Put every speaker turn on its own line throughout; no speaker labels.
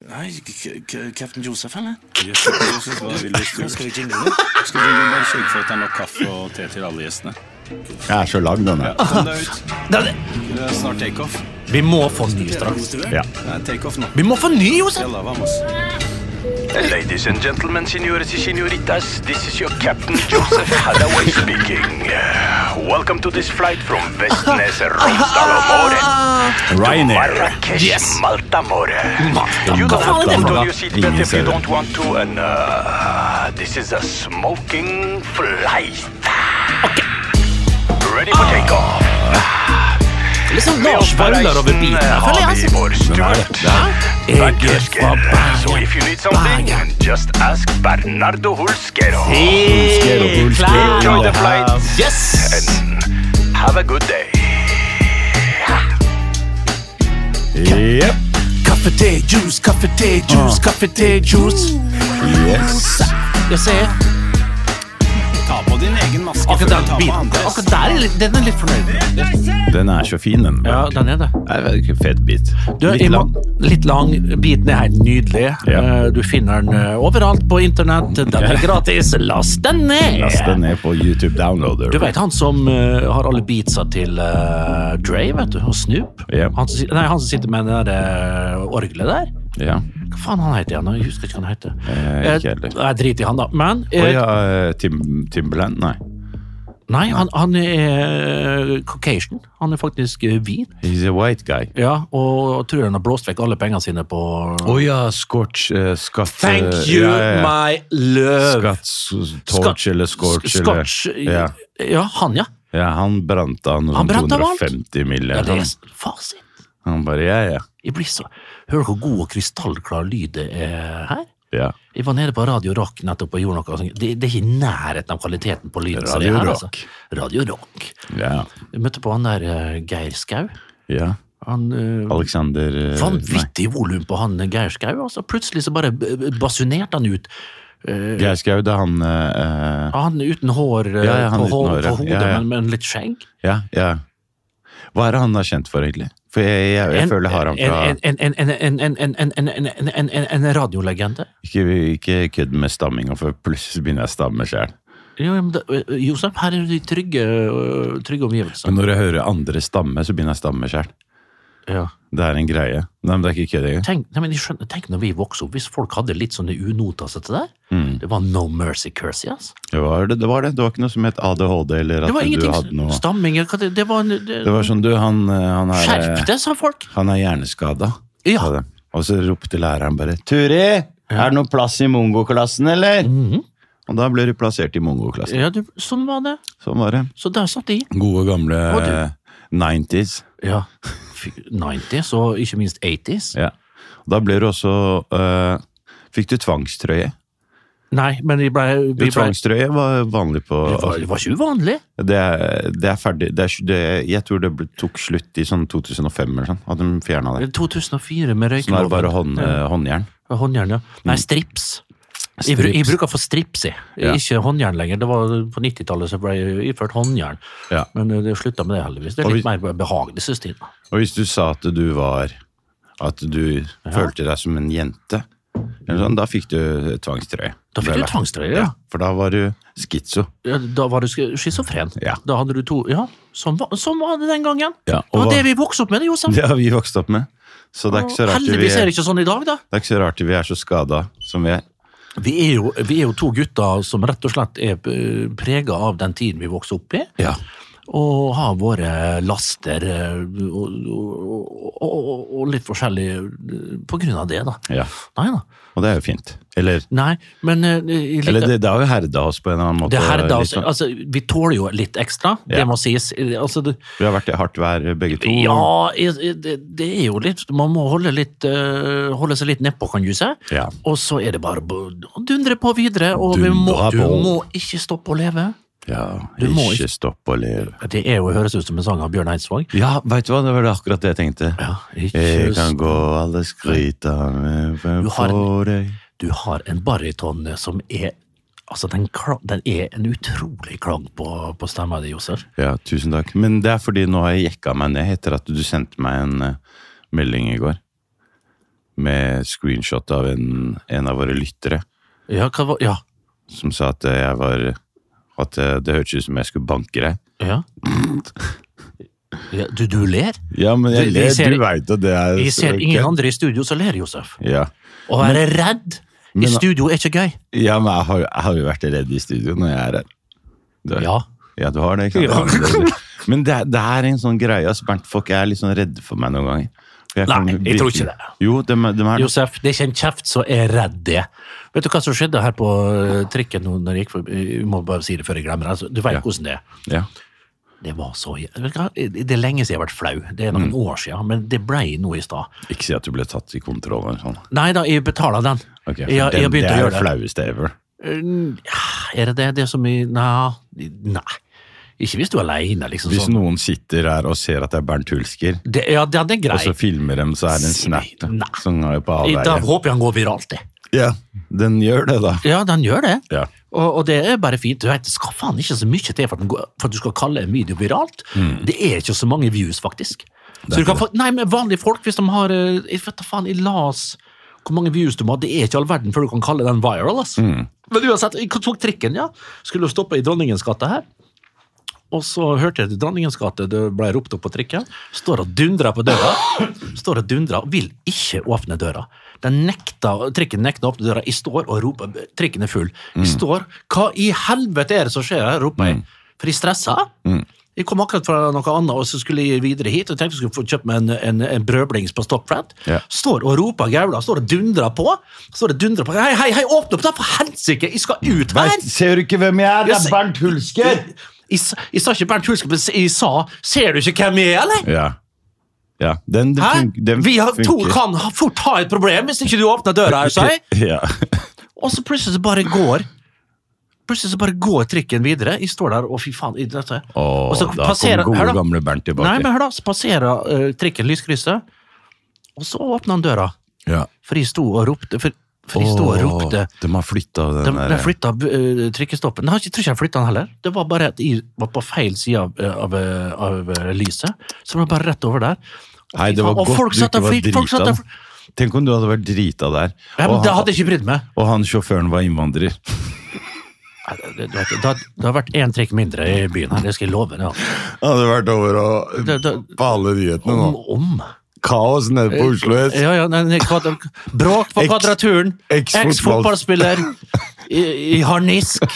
Nei, K- K- Captain Joseph, eller?
Skal
Skal vi jingle nå?
vi bare sørge for at det er nok kaffe og te til alle gjestene?
Jeg er så lang, denne.
Kom deg ut.
Det er det.
Det er snart takeoff.
Vi må få ny straks.
Ja.
Det er takeoff nå.
Vi må få ny, Josef!
Jalla, vamos.
Ladies and gentlemen, senores y señoritas, this is your captain Joseph Hathaway speaking. Welcome to this flight from Vestnes Romsdalomore
Ryanair.
Marrakesh,
Yes.
Maltamore.
Marta,
You
hva
don't have
faen er det for
to put on
noe?
your seatbelt if you
Ingen ser
don't want to, and uh, this is a smoking flight. Ready for takeoff.
Litt sånn
Med
Lars
oss på
Vaular Ah, over
reisen,
biten her,
eh,
føler
har
jeg.
vi
altså.
vår Stuart.
Jeg er fra
Bergen. So if you need something,
Bergen.
just ask Bernardo Hulskero.
Helt klar.
Enjoy the flight.
Yes!
And have a good day.
Yep.
Kaffe, te, juice, kaffe, te, juice, kaffe, te, juice.
Yes.
Jeg ser
Ta på din egen maske. før
akkurat
du
den
tar på
biten.
andres.
Akkurat der, er litt- den er litt fornøyd med.
Den er så fin, den.
Ja, den er det.
Jeg vet ikke, Fet bit.
Du,
Litt
jeg må-
lang.
litt lang. Biten er helt nydelig.
Ja.
Eh, Du finner den eh, overalt på internett. Den er gratis. Last den ned!
Last den ned på YouTube Downloader.
Du vet han som eh, har alle beatsa til eh, Dre, vet du, og Snoop?
Ja.
Han, som, si- nei, han som sitter med det der eh, orgelet der?
Ja.
Hva faen han heter igjen? Jeg husker ikke hva han heter.
Eh, ikke heller.
Eh, Nei, drit i han, da. Men eh,
Å ja, eh, Tim, Timberland? Nei.
Nei, han, han er eh, Caucasian. Han er faktisk eh, hvit.
He's a white guy.
Ja, og tror han har blåst vekk alle pengene sine på
Å ja, Scorch eh, Skatt
Thank
eh,
you,
ja, ja, ja.
my love!
Skatt, s- Torch
Skatt-
eller Scorch
Scotch.
eller ja.
ja, han, ja.
ja, eh, han brant av noe
Han
sånn
brant av alt.
250 mill.
ja det
Han,
er fasit.
han bare ja, ja.
Jeg blir så Hører dere hvor god og krystallklar lyd det er her?
ja.
Jeg var nede på Radio Rock nettopp og gjorde noe sånt. Det, det er ikke i nærheten av kvaliteten på lyden. som
Radio
det er her,
Rock.
Altså. Radio Rock.
ja.
Jeg møtte på han der eh, Geir Skau.
ja.
Han, eh,
Alexander eh,
vanvittig volum på han eh, Geir Skau. Altså. Plutselig så bare b- b- basunerte han ut.
nei, Geir Skau, det er han eh, eh,
Han uten hår eh,
Ja, ja, han
på,
uten
hår,
hår, ja.
på hodet,
Ja, ja.
Men, men litt skjegg.
Ja, ja. Hva er det han er kjent for, egentlig? For jeg, jeg, jeg,
En-
føler jeg har han fra
en- en- en- en- en- en- en- en- en- en- en- en- en- En radiolegende.
Ikke, ikke kødd med stamminga, for plutselig begynner jeg å stamme sjøl.
Jo, men da- eh, Josef, her er du i trygge, eh, trygge omgivelser.
Men når jeg hører andre stamme, så begynner jeg å stamme sjøl.
Ja.
Det er en greie. Nei, men det er ikke kødd engang.
Tenk, nei, men jeg skjønner, tenk når vi vokste opp, hvis folk hadde litt sånne unotasete der.
Mm.
Det var no mercy cursey, ass.
Det var det, det var det. Det var ikke noe som het ADHD, eller
Det
at
var
du
ingenting
hadde noe
Stamming eller hva det, det var en det-
Det var sånn, du, han, eh, han er
Skjerp deg, sa folk.
Han er hjerneskada.
Ja.
sa de. Og så ropte læreren bare 'Turi, er det noe plass i mongoklassen, eller?'
Mhm.
Og da ble du plassert i mongoklassen.
Ja, du, sånn var det.
Sånn var det.
Så der satt de.
Gode, gamle
Og du?
eh, 90s.
Ja. Fy- 90s og ikke minst 80s.
Ja. Og da ble du også eh, Fikk du tvangstrøye?
Nei, men vi ble,
Jo,
vi ble det,
tvangstrøye var vanlig på
var, det var ikke uvanlig.
Det er, det er ferdig det er, det, Jeg tror det ble, tok slutt i sånn 2005 eller sånn. At de fjerna det.
2004 med
Så nå er det bare hånd,
røykeloven.
eh, håndjern.
Håndjern, ja. Nei, strips. Jeg, bru- jeg
Strips.
bruker for Mm. strips, jeg.
Ja.
Ikke håndjern lenger. Det var På 90-tallet så ble jeg iført håndjern.
Ja.
Men eh, det slutta med det, heldigvis. Det
Og vi-
er litt mer behagelig, synes jeg.
Og hvis du sa at du var At du følte deg som en jente, eller sånn, da fikk du tvangstrøye.
Da fikk du tvangstrøye, ja.
Ja, for da var du skitso.
Ja, Da var du sk- schizofren.
Ja.
Da hadde du to Ja, sånn var, sånn var det den gangen.
Ja,
det
og
var
hva-
det vi vokste opp med, det, Josef.
Det har vi vokst opp med. Så det er ikke så rart vi
Heldigvis er
er,
det ikke sånn i dag, da.
det er, ikke så rart vi er så skada som vi er.
Vi er, jo, vi er jo to gutter som rett og slett er prega av den tiden vi vokste opp i.
Ja.
Og har våre laster eh, og, og, og, og litt forskjellig eh, på grunn av det, da. Nei da.
Og det er jo fint. Eller,
Nei, men eh, jeg liker-
eller det, det har jo herda oss på en eller annen måte.
det her, da,
litt
altså,
sånn.
altså, vi tåler jo litt ekstra, det
Ja.
må sies. Eh, Altså, det,
Vi har vært i hardt vær begge to.
ja, eh, eh, det, det er jo litt Man må holde, litt, eh, holde seg litt nedpå, kan du si.
Ja.
Og så er det bare å dundre på videre, og vi må,
Dundra
du
på.
må ikke stoppe å leve.
Ja,
Du må
ikke
ikke-
stopp å leve.
Det er jo høres ut som en sang av Bjørn Eidsvåg.
Ja, veit du hva, det var det akkurat det jeg tenkte.
Ja,
Jeg
ikke
kan
sant.
gå alle skrytene
Du har en-
for deg
Du har en baryton som er Altså, den, kla- den er en utrolig klang på, på stemma di, Josef.
Ja, tusen takk. Men det er fordi nå har jeg jekka meg ned etter at du sendte meg en eh, melding i går. med screenshot av en, en av våre lyttere
Ja, hva var Ja.
som sa at eh, jeg var At eh, det hørtes ut som jeg skulle banke deg.
ja. ja du, du ler?
Ja, men jeg
Du- vi
ler.
ser-
Du veit at det er
Jeg ser
ok.
ingen andre i studio som ler, Josef.
Ja.
Å være redd i
Men-
studio er ikke gøy.
ja, men jeg har, jeg har jo vært redd i studio når jeg er her. Du har-
Ja.
Ja, du har det, ikke sant? Men det, er- det er en sånn greie. ass. Berntfolk er litt sånn redde for meg noen ganger. For
Nei,
kan
jeg tror
virkelig-
ikke det.
Jo, de, de er
Josef, det er ikke en kjeft som er redd det. Vet du hva som skjedde her på eh, trikken nå når jeg gikk forbi? Jeg må bare si det før jeg glemmer det. Altså, du vet
Ja.
hvordan det er.
Ja.
Det var så jæ- Vet du hva? Det er lenge siden jeg har vært flau. Det er
Mm.
noen år siden, men det ble noe i stad.
Ikke si at du ble tatt i kontroll eller sånn.
Nei da, jeg betaler den.
Ok, for
jeg, jeg
den-
har begynt
det
å
er
gjøre det. Eh,
flaueste ever.
Er det det? Det er så mye Nei. nei. Ikke hvis du er aleine, liksom.
Hvis
Sånn.
noen sitter her og ser at det er Bernt Hulsker,
Det, ja, den er
og
grei.
så filmer dem, så er det en
Si-
snap
nei.
som er på
I- Da
avveie.
håper jeg han går viralt, det.
Ja, den gjør det, da.
Ja, den gjør det.
Ja.
Og, og det er bare fint. Du vet, det skal faen ikke så mye til for, at den går- for at du skal kalle en video viralt.
Mm.
Det er ikke så mange views, faktisk. Så du kan få, nei, men Vanlige folk, hvis de har eh, Jeg vet da faen, jeg las hvor mange views du må ha. Det er ikke all verden før du kan kalle den viral. ass.
Mm.
Men uansett, jeg tok trikken, ja. Skulle stoppe i Dronningens gate her. Og så hørte jeg til Dronningens gate, det ble ropt opp på trikken. Står og dundrer på døra. Står og dundrer, og vil ikke åpne døra. Den nekta, trikken nekter å åpne døra. Jeg står og roper, trikken er full. Jeg står, hva i helvete er det som skjer her, roper jeg. For jeg stressa. Jeg kom akkurat fra noe annet, og så skulle jeg videre hit. og tenkte jeg skulle få kjøpt meg en, en, en brødblings på Stockflat.
Ja.
Står og roper gaula, står og dundrer på. Står og dundrer på. Hei, hei, hei, åpne opp, da, for helsike! Jeg skal ut her!
Vet, ser du ikke hvem jeg er? Det
Jeg
er
ser-
Bernt Hulsker!
Jeg, jeg, sa- jeg sa ikke Bernt Hulsker, men jeg sa Ser du ikke hvem jeg er, eller?
Ja. ja. Den, den,
Hæ?
fun den
Vi har, to
funker.
kan ha- fort ha et problem hvis ikke du åpner døra. her, sa jeg.
Ja.
Og så plutselig så bare går Plutselig så bare går trikken videre. Jeg står der og fy faen i dette.
Og
Og så
da
passerer-
kom gode,
hør da.
gamle Bernt tilbake.
Nei, men hør da, så passerer eh, trikken lyskrysset, og så åpner han døra.
ja.
For jeg sto og ropte. For, for jeg sto og
Åh,
ropte.
De har flytta den
De,
der-
de flytta eh, trikkestoppen. Nei, jeg tror ikke de flytta den heller. Det var bare at jeg var på feil side av, eh, av, eh, av eh, lyset. Så det var bare rett over der. Og
Nei,
fy
det
faen,
var
og
godt
folk
du
satt
ikke
og
var
fly-
drita.
folk satt og
da.
fly-
Tenk om du hadde vært drita der,
Ja, men
og,
Det
han,
hadde jeg ikke brydd meg.
og han sjåføren var innvandrer.
Nei, Det, det, det, det, hadde- det har vært én trikk mindre i byen her, det skal jeg love. deg, altså.
Hadde vært over og,
Det- det-
på alle nyhetene
Om, om.
Kaos nede på Oslo S.
Ja, ja, nei, nei, kvadra, bråk på
Eks-
kvadraturen.
eks-fotball-
Eks-fotballspiller i, i harnisk.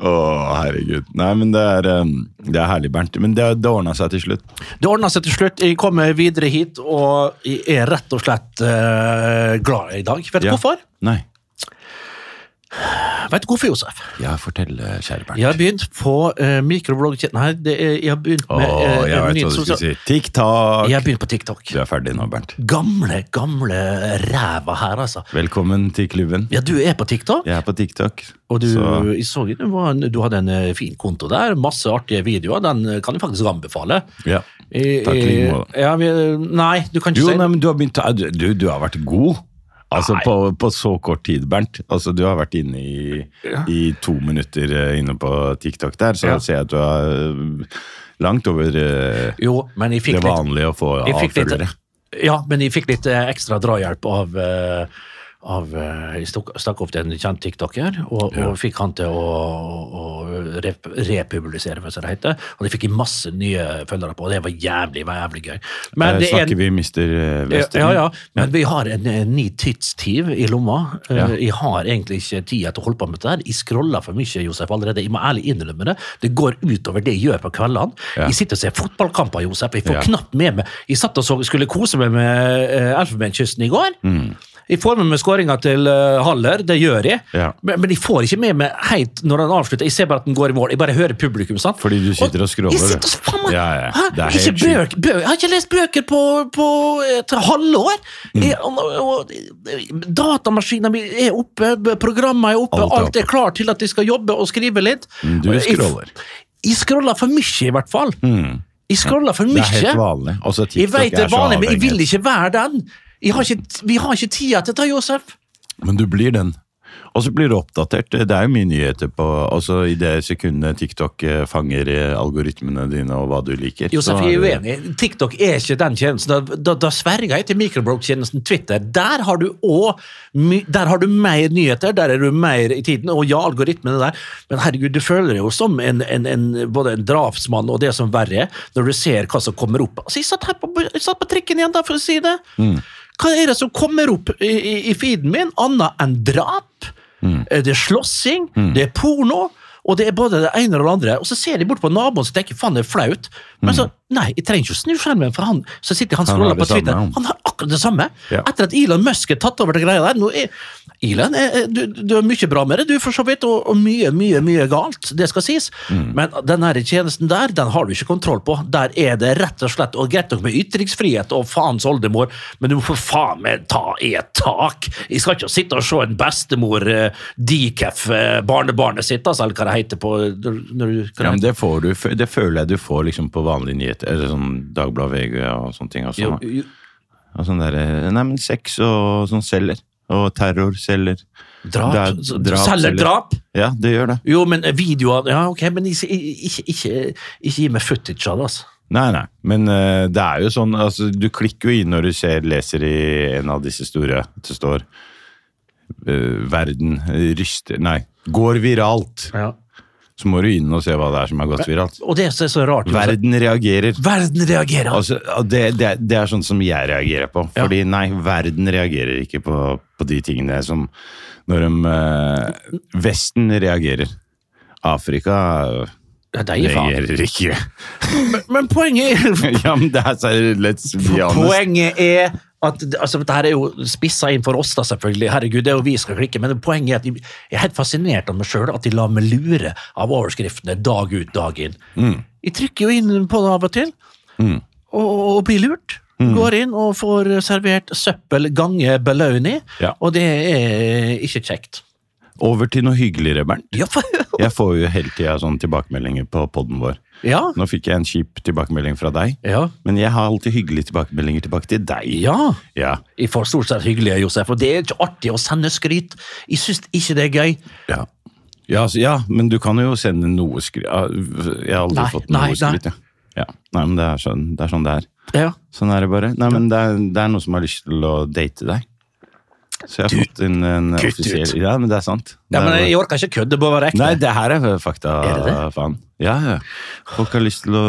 Å, herregud. Nei, men det er, um, det er herlig, Bernt. Men det, det ordna seg til slutt.
Det ordna seg til slutt. Jeg kommer videre hit, og jeg er rett og slett eh, glad i dag. Vet du
Ja.
hvorfor?
Nei.
Vet du hvorfor, Josef?
Ja, fortell, eh, kjære Bernt.
Jeg har begynt på uh, mikroblogg... Nei, det er, jeg har begynt
Å,
med eh,
jeg
en
vet
ny
hva du
sosial-
skulle si. TikTok.
Jeg har begynt på TikTok.
Du er ferdig nå, Bernt.
Gamle, gamle ræva her, altså.
Velkommen til klubben.
Ja, du er på TikTok,
Jeg er på TikTok.
og du,
så-
jeg så, jo du, var, en- du hadde en eh, fin konto der. Masse artige videoer. Den eh, kan jeg faktisk anbefale.
ja.
I-
Takk i like
i-
måte.
Ja, vi, eh, nei, du kan ikke
Jo,
si
nei, men du har begynt å- du, du har vært god. Altså på, på så kort tid, Bernt. Altså, du har vært inne i, i to minutter eh, inne på TikTok der, så
Ja.
ser jeg at du er eh, langt over eh,
Jo, men jeg
det
fikk litt
vanlige å få
Jeg fikk litt-
avfølgere.
Ja, men jeg fikk litt eh, ekstra drahjelp av, eh, av eh, Jeg stok- stakk opp til en kjent TikToker, og, og fikk han til å, å rep republisere, hva det heter. Og det fikk jeg masse nye følgere på, og det var jævlig, var jævlig gøy.
Eh,
Men det er
snakker
en
vi Mister eh, Western?
ja, ja, men vi har en, en ny tidstyv i lomma. Eh,
Ja.
Jeg har egentlig ikke tid til å holde på med dette. her. Jeg scroller for mye, Josef, allerede. Jeg må ærlig innrømme det. Det går utover det jeg gjør på kveldene.
Ja.
Jeg sitter og ser fotballkamper, Josef. Jeg får
Ja.
knapt med meg Jeg satt og så, skulle kose meg med eh, Elfenbenskysten i går.
Mm.
Jeg får med meg skåringa til eh, Haller, det gjør jeg.
Ja.
Men, men jeg får ikke med meg helt når han avslutter. Jeg ser bare at den går i mål. Jeg bare hører publikum. sant?
Fordi du sitter og scroller,
Jeg sitter og så- faen meg!
Ja, ja.
Hæ?
Det er
Ikke
helt sjukt.
bøker, bø- Jeg har ikke lest bøker på, på et halvår!
Mm.
Jeg- og- og- Datamaskinen min er oppe, b- programmet er oppe,
Alt
alt
er
er,
oppe.
klart til at jeg skal jobbe og skrive litt.
Mm, du
Og jeg-
scroller. Mm.
Jeg scroller for mye, i hvert fall. Jeg scroller for
Det er helt
mye.
vanlig. Altså,
Jeg
TikTok
vet det
er
er
så
vanlig, men jeg vil
avhengig.
ikke være den. Jeg har ikke, vi har ikke tida til dette, Josef.
Men du blir den. Og så blir det oppdatert. Det er jo mye nyheter på altså I det sekundet TikTok eh, fanger eh, algoritmene dine og hva du liker.
Josef,
så
jeg er
er det-
uenig. TikTok er ikke den tjenesten. Da, da, da sverger jeg til microblog-tjenesten Twitter. Der har du òg my- Der har du mer nyheter, der er du mer i tiden. Og ja, algoritmene der, men herregud, du føler deg jo som en, en, en, både en drapsmann og det som verre er, når du ser hva som kommer opp. Altså, jeg satt her på, jeg satt på trikken igjen, da, for å si det. Hva er det som kommer opp i, i, i feeden min, annet enn drap? Eh, Det er slåssing, det er porno, og det er både det ene og det andre. Og så ser de bort på naboen og tenker jeg, faen, det er flaut. Men så, nei, jeg trenger ikke å snu skjermen, for han så sitter
Mm.
han
Han har det
scroller på Twitter.
samme, han.
han har akkurat det samme.
Ja.
Etter at Elon Musk har tatt over det greia der nå er, Elon, eh, eh, du, du er mye bra med det, du, for så vidt, og, og mye, mye, mye galt, det skal sies.
Mm.
Men den her tjenesten der, den har du ikke kontroll på. Der er det rett og slett og greit nok med ytringsfrihet og faens oldemor, men du må for faen meg ta i et tak. Jeg skal ikke sitte og se en bestemor eh, decaf eh, barnebarnet sitt, altså, eller hva det heter på når, når, du-
Ja, men
hva det heter.
det, får du, det føler jeg du får liksom på vanlige nyheter. Eller sånn Dagbladet VG og sånne ting. Og
Jo,
sånn,
jo,
og sånn der, eh, nei, men sex og sånn selger. Og terror selger.
Drap?
Det er-
Selger drap?
Ja, det gjør det.
Jo, men eh, videoer Ja, ok, men ikke, ikke, ikke, ikke gi meg footage av det, altså.
Nei, nei. Men eh, det er jo sånn altså, Du klikker jo inn når du ser, leser i en av disse store at Det står eh, 'Verden ryster Nei, går viralt'. Så må du inn og se hva det er som har gått viralt.
Og det som er så rart Josef-
Verden reagerer.
Verden reagerer!
Altså, det, det, det er sånn som jeg reagerer på.
Ja.
Fordi nei, verden reagerer ikke på, på de tingene som Når de eh, Vesten reagerer. Afrika
Ja, det er faen.
reagerer ikke.
Men, men poenget er
ja, men det er seriøst. Let's be honest.
Poenget er at altså, Dette her er jo spissa inn for oss, da, selvfølgelig. Herregud, det er jo vi skal klikke, men poenget er at jeg jeg er helt fascinert av meg sjøl, at de lar meg lure av overskriftene dag ut, dag inn. Jeg trykker jo inn på det av og til, og, og, og blir lurt. Går inn og får servert søppel gange belauni,
Ja.
og det er ikke kjekt.
Over til noe hyggeligere, Bernt.
Ja, for,
Jeg får jo hele tida sånne tilbakemeldinger på podden vår.
ja,
Nå fikk jeg en kjip tilbakemelding fra deg,
ja.
men jeg har alltid hyggelige tilbakemeldinger tilbake til deg.
ja.
Ja.
Jeg får stort sett hyggelige, Josef, og det er ikke artig å sende skryt. Jeg syns ikke det er gøy.
Ja. Ja, altså, ja, men du kan jo sende noe skryt. Jeg har aldri
Nei,
fått
nei,
noe
nei.
skryt. Ja. Ja. Nei, men det er, sånn, det er sånn det er.
Ja.
Sånn er det bare. Nei, men det er, det er noen som har lyst til å date deg. Så jeg har fått en, en
kutt
offisiell
ut.
Ja, men det er sant.
Ja,
Det
men
er-
jeg orker ikke kødde, det bør være ekte.
Nei, det her er fakta,
Er det det?
faen. Ja, ja. Folk har lyst til å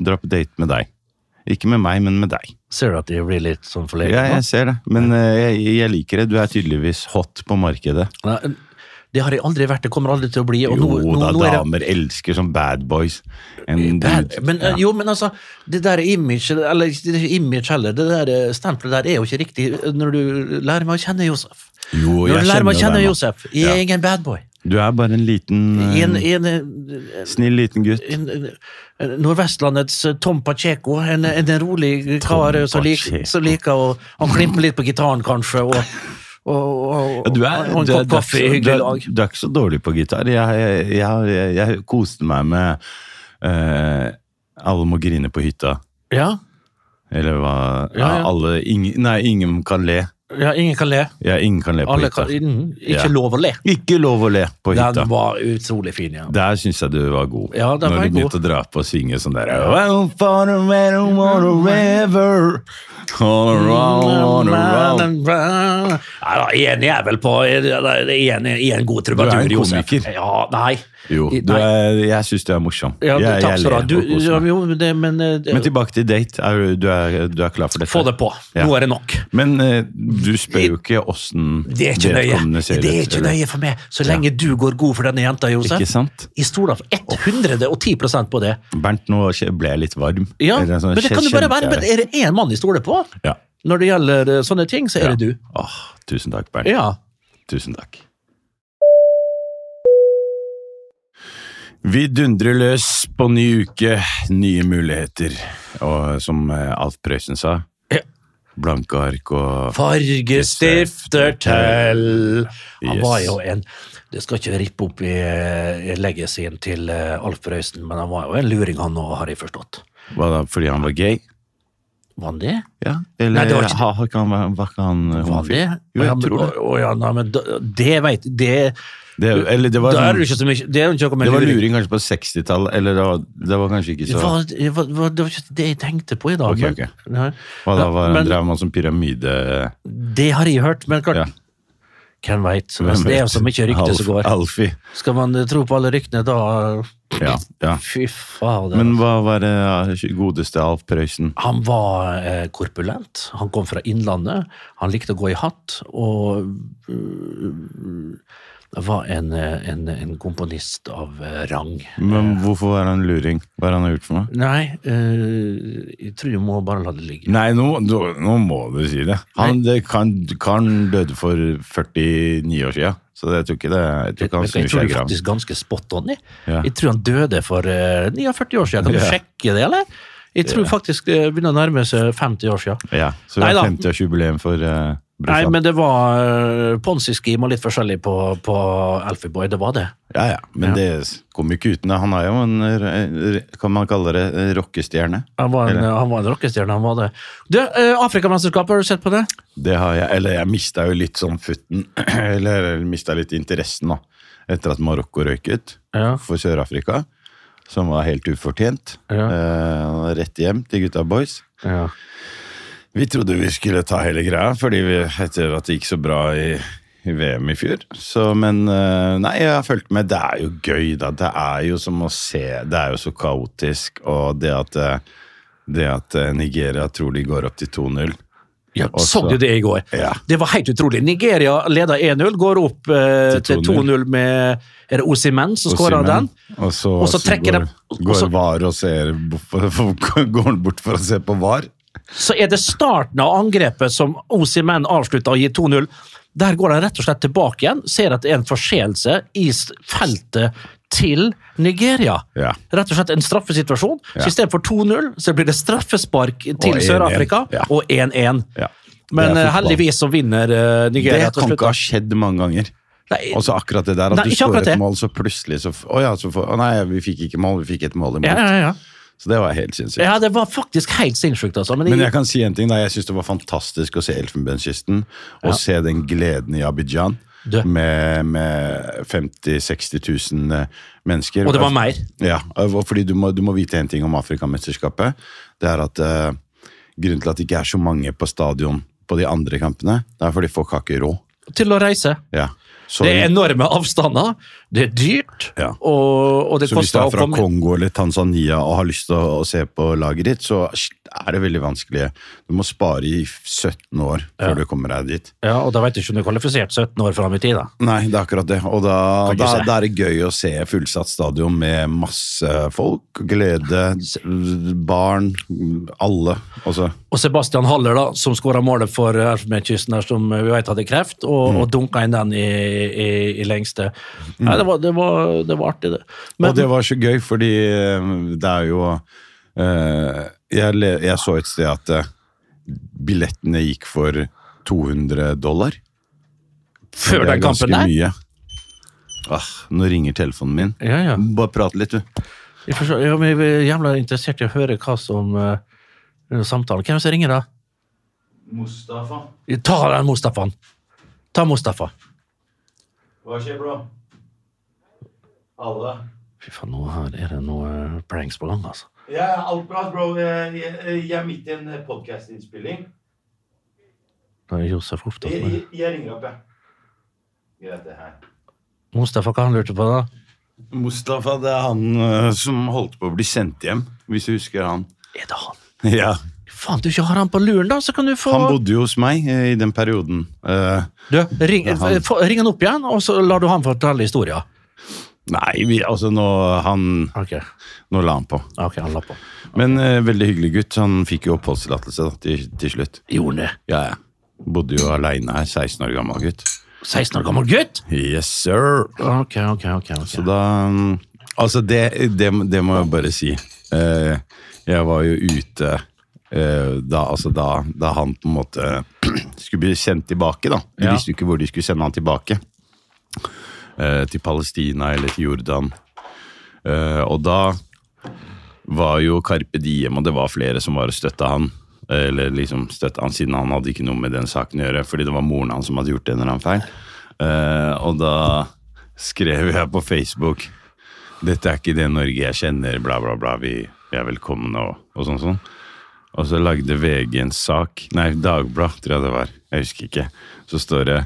dra på date med deg. Ikke med meg, men med deg.
Ser du at jeg blir litt sånn forlegen?
Ja,
nå?
jeg ser det. Men eh, jeg, jeg liker det. Du er tydeligvis hot på markedet.
Nei, det har jeg aldri vært, det kommer aldri til å bli. Og
Jo
nå, nå,
da,
nå er det,
damer elsker sånn bad boys. En
Bad,
dude.
men, eh, Jo, men altså, det der image, eller det er ikke image heller, det der eh, stempelet der er jo ikke riktig eh, når du lærer meg å kjenne Josef.
Jo,
Når
jeg
du lærer meg å
kjenner
kjenne
deg, mann.
Josef, jeg er ingen bad boy.
Du er bare en liten, eh,
En, en, eh,
snill liten gutt.
en, en Nordvestlandets eh, Tom Pacheco. En, en rolig kar eh, som, lik,
Pacheco.
som liker å Han klimper litt på gitaren, kanskje, og, og, og,
Ja, du er,
og en
du, er,
kopp
du, er,
kaffe i
ikke så-
hyggelig
du,
lag.
er, du er ikke så dårlig på gitar. Jeg, jeg, jeg, jeg, jeg koste meg med eh, Alle må grine på hytta.
Ja,
Eller hva ja,
Ja, ja.
Alle, ingen, Nei, ingen kan le.
ja, ingen kan le.
Ja, ingen kan le på
Alle
hytta.
kan, mm, ikke
Ja.
lov å le.
Ikke lov å le på hytta.
Den var utrolig fin, ja.
Der syns jeg du var god.
Ja, der var
Når
jeg
du begynte
god.
å dra på og synge sånn der well, for the man who won the river, all
Mm,
around, all around.
Nei da, enig er vel på Enig i en god
Du er
trubadur,
en
Josef.
komiker.
Ja, nei.
Jo,
I-
du
nei.
er, jeg syns du er morsom.
Ja, du,
jeg,
takk
jeg
skal du ha.
ler
Du,
og koser
ja,
meg.
jo, det, men, eh,
Men tilbake til date. Er du, du, er, du er klar for dette?
Få det på.
Ja.
Nå er det nok.
Men eh, du spør jo ikke åssen
Det er ikke nøye. Det er ikke nøye altså. for meg, så lenge du går god for denne jenta, Josef.
Ikke sant?
Jeg stoler 110 på det.
Bernt, nå ble jeg litt varm.
Ja,
Eller sånn,
men det kan jo
kjente
bare være,
jeg
men
det.
Er det én mann jeg stoler på
Ja.
når det gjelder eh, sånne ting, så er det du.
Åh, tusen takk, Bernt.
Ja.
Tusen takk. Vi dundrer løs på ny uke, nye muligheter. Og som eh, Alf Prøysen sa,
Ja.
blanke ark og
Fargestifter til Han
Yes.
var jo en Det skal ikke rippe opp i, eh, i legacyen til eh, Alf Prøysen, men han var jo en luring, han òg, har jeg forstått.
Hva da, fordi han var gay?
Var han det?
Ja, eller
Nei, det var ikke-
ha- ha- kan- Var var ikke han eh,
Var han
homofil?
det?
Jo, jeg
Ja, men-
tror det.
Å, å, ja, nei, men da- det veit Det,
Det, eller det var,
da er
sånn,
det ikke så mye Det er jo ikke noe med
det var luring kanskje på 60-tallet, eller det var, det var kanskje ikke
Det
så
var, det, var, det var ikke det jeg tenkte på i dag.
Ok,
men-
ok.
Nei.
Hva da var
Men-
han drev med sånn pyramide...
Det har jeg hørt, men klart
Ja.
Hvem veit?
hvem
Altså, det er jo
vet?
så mye rykter som
Alf-
går.
Alfie.
Skal man eh, tro på alle ryktene da
Ja, ja.
Fy fader.
Men hva var det ja, godeste Alf Prøysen?
han var eh, korpulent, han kom fra Innlandet, han likte å gå i hatt, og eh, var en, eh, en, en komponist av eh, rang.
Men hvorfor var han luring? Hva har han gjort for noe?
Nei, eh, jeg tror jeg må bare la det ligge.
Nei, nå, nå- nå må du si det. Han, det kan, karen døde for 49 år siden, så jeg tror ikke, det, jeg tror
Jeg,
ikke han
jeg
snur
tror
seg
du
i graven.
faktisk ganske spot on. Jeg,
Ja.
jeg tror han døde for eh, 49 år siden. Kan du
Ja.
sjekke det, eller? Jeg tror faktisk eh, det begynner å nærme seg 50 år siden.
Ja, så det er
Neida.
50-årsjubileum for uh,
Nei,
brorsan.
men det var eh, ponzi-scheme og litt forskjellig på, på Alfie Boy. Det var det.
Ja, ja, men
Ja.
det kommer jo ikke uten det. Han er jo en, eh, r- kan man kalle det, eh, rockestjerne.
Han var en, eh,
Eller-
han var en rockestjerne, han var det. Du, eh, Afrikamesterskapet, har du sett på det?
Det har jeg, eller jeg mista jo litt sånn futten, eller mista litt interessen da, etter at Marokko røyk ut
Ja.
for Sør-Afrika, som var helt ufortjent.
Ja.
Eh, rett hjem til gutta boys. Vi trodde vi skulle ta hele greia, fordi vi, etter at det gikk så bra i, i VM i fjor. Så, men eh, nei, jeg har fulgt med. Det er jo gøy, da. Det er jo som å se. Det er jo så kaotisk, og det at, eh, det at eh, Nigeria tror de går opp til 2-0
Ja,
Også-
så du det i går?
Ja.
Det var helt utrolig. Nigeria leder 1-0, går opp eh,
Til
til 2-0 med Er det Osimen som skårer
Osimhen.
den?
Og så,
Og så trekker
går,
de-
går
og så-
VAR og ser Går han bort for å se på VAR?
Så er det starten av angrepet som Osimen avslutta og gir 2-0. Der går han rett og slett tilbake igjen, ser at det er en forseelse i s- feltet til Nigeria.
Ja.
Rett og slett en straffesituasjon.
Ja.
Så i stedet for 2-0 så blir det straffespark til
1-1.
Sør-Afrika
Ja.
og 1-1.
Ja. Det er
Men eh,
fotball.
heldigvis så vinner eh,
Det
Nigeria
kan ikke ha skjedd mange ganger.
Nei,
Og så akkurat det der at
Nei,
du
ikke
skårer
akkurat
et
det.
mål, så plutselig så f- Å ja, så får Å nei, vi fikk ikke mål, vi fikk et mål imot.
ja, ja, ja.
Så det var helt sinnssykt.
ja, det var faktisk helt sinnssykt, altså. Men,
Men jeg
jeg,
kan si en ting, da. Jeg syns det var fantastisk å se Elfenbenskysten. Og se den gleden i Abidjan
Du.
med, med 50 000-60 000 eh, mennesker.
og det var mer.
Ja, og fordi du må, du må vite en ting om Afrikamesterskapet. Det er at eh, grunnen til at det ikke er så mange på stadion på de andre kampene, det er fordi folk har ikke råd.
Til å reise.
Ja. Så,
Det er enorme avstander, det er dyrt,
Ja.
og, og det
så hvis du
koster
er
å
fra
komme
Kongo eller Tanzania og har lyst til å, å se på laget ditt, så er det veldig vanskelig. Du må spare i 17 år før du kommer deg dit.
Ja, og da vet du ikke om du er kvalifisert 17 år fram i tid, da.
Nei, det er akkurat det. Og da,
Kan ikke
da,
se.
da er det gøy å se fullsatt stadion med masse folk, glede, barn, alle. Altså,
Og Sebastian Haller, da, som skåra målet for Elfenbenskysten, der, som vi vet hadde kreft, og,
Mm.
og dunka inn den i, i, i lengste. Nei, det var, det, var, det var artig, det. Men
og det var så gøy, fordi eh, det er jo eh, jeg, le, jeg så et sted at eh, billettene gikk for 200 dollar.
før
Det er
den kampen
ganske
der
Mye. Ah, nå ringer telefonen min.
Ja, ja.
Bare prat litt, du.
Jeg, forstår, ja, men jeg er jævla interessert i å høre hva som eh, er samtalen. Hvem er det som ringer, da?
Mustafa,
Ta den Mustafaen. Ta Mustafa.
hva skjer, bro? Alle.
Fy faen, nå her er det noe eh, pranks på gang, altså.
Ja, alt bra, bro. Jeg, jeg, jeg er midt i en eh, podkastinnspilling.
Da er Josef opptatt
Jeg,
med
jeg, jeg ringer opp, jeg. Greit, det her.
Mustafa, hva han lurte på, da?
Mustafa, det er han eh, som holdt på å bli sendt hjem, hvis du husker han.
Er det han?
Ja,
Faen, du ikke har han på luren, da, så kan du få
Han bodde jo hos meg eh, i den perioden. Eh,
Du, ring,
Ja, han-
f- ring han opp igjen, og så lar du han fortelle historien.
nei, vi, altså nå, han,
Ok,
nå la han på.
ok, han la på.
Men eh, veldig hyggelig gutt. Han fikk jo oppholdstillatelse da, til, til slutt.
Gjorde han det?
Ja, ja. Bodde jo aleine her, 16 år gammel gutt.
16 år gammel gutt?
Yes, sir!
Ok, ok, ok.
Så
ok.
da mm, Altså, det, det, det må jeg bare si. Eh, jeg var jo ute eh, da, altså da, da han på en måte skulle bli sendt tilbake, da. De
Ja.
visste jo ikke hvor de skulle sende han tilbake. Eh, til Palestina eller til Jordan. Eh, og da var jo Carpe Diem, og det var flere som var og støtta han. Eller liksom støtte han, siden han hadde ikke noe med den saken å gjøre, fordi det var moren hans som hadde gjort en eller annen feil. Eh, og da skrev jeg på Facebook Dette er ikke det Norge jeg kjenner, bla, bla, bla. Vi, vi er velkomne, og, og sånn, sånn. Og så lagde VG en sak Nei, Dagblad, tror jeg det var. Jeg husker ikke. Så står det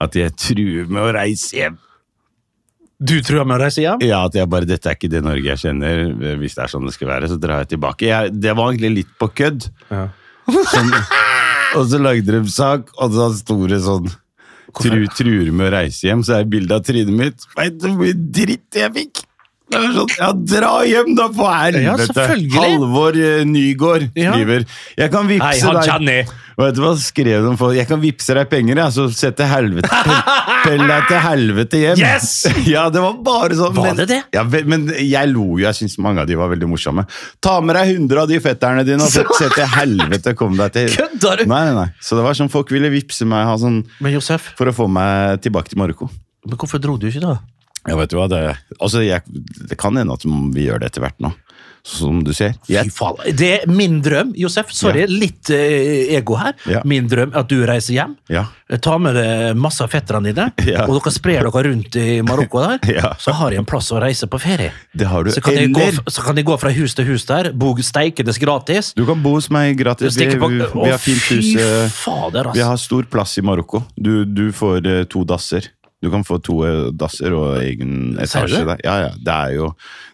at jeg truer med å reise hjem.
Du tror jeg må reise hjem?
Ja, at jeg bare, dette er ikke det Norge jeg kjenner. Hvis det er sånn det skal være, så drar jeg tilbake. Jeg, det var egentlig litt på kødd. Sånn, og så lagde de sak, og da sto det sånn Tru, truer med å reise hjem, så er bildet av trynet mitt. Veit du hvor mye dritt jeg fikk? Det var sånn, ja, dra hjem, da, for
Ja,
helvete!
selvfølgelig.
Halvor eh, Nygård
Ja.
skriver Jeg kan vippse
Nei, han
deg
Johnny!
og vet du hva skrev de for? Jeg kan vippse deg penger, jeg, så sette helvete pel- Pell deg til helvete hjem.
Yes!
Ja, det var bare sånn.
Var
men-
det det?
Ja, ve- men jeg lo jo. Jeg syns mange av de var veldig morsomme. Ta med deg 100 av de fetterne dine og sett sett til helvete kom deg til
Kødder du?
Nei, nei, nei. Så det var sånn folk ville vippse meg ha sånn,
Men Josef,
for å få meg tilbake til Marokko.
men hvorfor dro du ikke da?
Ja, vet du hva, det, altså, jeg, det kan hende at vi gjør det etter hvert nå. Som du ser.
Fy
Jeg,
faen. Det er min drøm, Josef. Sorry, litt eh, ego her.
Ja.
Min drøm er at du reiser hjem.
ja.
Eh, Ta med deg masse av fetterne dine,
Ja.
og dere sprer dere rundt i Marokko der.
Ja.
Så har jeg en plass å reise på ferie.
Det har du.
Så kan, jeg gå,
Eller-
så kan jeg gå fra hus til hus der, bo steikendes gratis.
Du kan bo hos meg gratis. Vi,
stikke på-
vi,
Å,
vi har fint hus. eh,
Fy fader,
Vi
altså.
har stor plass i Marokko. Du, du får eh, to dasser. Du kan få to eh, dasser og egen
Ser du
etasje
det?
der. Ja, ja. Det er jo,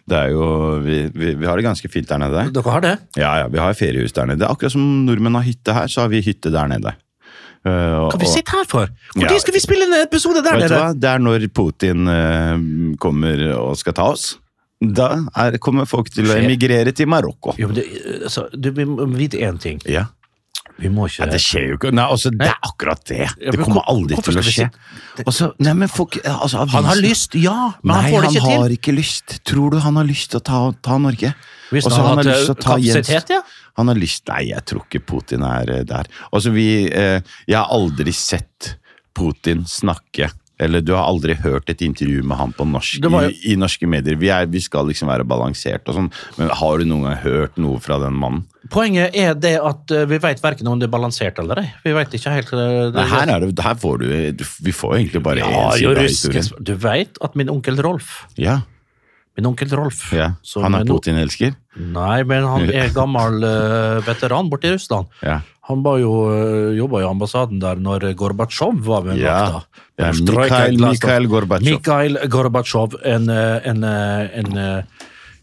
det er jo vi, vi, vi har det ganske fint der nede.
altså. Dere har det?
Ja, ja. Vi har feriehus der nede. Akkurat som nordmenn har hytte her, så har vi hytte der nede. Eh, og-
Hva vi
og-
sitter her for? Når
Ja.
skal vi spille en episode der
Vet du
nede?
hva? Det er når Putin eh, kommer og skal ta oss. Da er, kommer folk til å
Skjer.
emigrere til Marokko.
Jo, men det, altså, du, vi må vite én ting.
Ja.
Vi må ikke
Nei, det skjer jo ikke. Nei, altså, det er akkurat det. Det
men
kommer
hvor-
aldri
hvorfor
til å
skal vi
skje. Også, nei, men folk, altså,
Han har
avisen-
lyst, ja, men
Nei,
han får det ikke
han
til.
har ikke lyst. Tror du han har lyst til å ta, ta Norge?
Hvis
Og så
han
han
har
har lyst til å ta Jens.
kapasitet, ja.
Han har lyst Nei, jeg tror ikke Putin er eh, der. Altså, vi eh, Jeg har aldri sett Putin snakke. Eller du har aldri hørt et intervju med han på norsk
Det var jo-
i, i norske medier. Vi, er, vi skal liksom være balansert og sånn, men har du noen gang hørt noe fra den mannen?
Poenget er det at eh, vi vet verken om det er balansert eller ei. Vi vet ikke helt eh,
Nei,
det-
her, er det, her får du, du Vi får jo egentlig bare
ja,
én side
jo,
av
ruske-
historien.
Du vet at min onkel Rolf
Ja,
Min onkel Rolf
ja.
som
Han er
nå-
Putin-elsker?
Nei, men han er gammel eh, veteran borte i Russland.
Ja.
Han var jo, eh, jobba i ambassaden der når Gorbatsjov var ved
Ja.
makta.
Ja,
Perestroika,
Mikhail-
glasnost.
Mikhail Gorbatsjov.
Mikhail Gorbatsjov, en, eh, en, eh, en eh,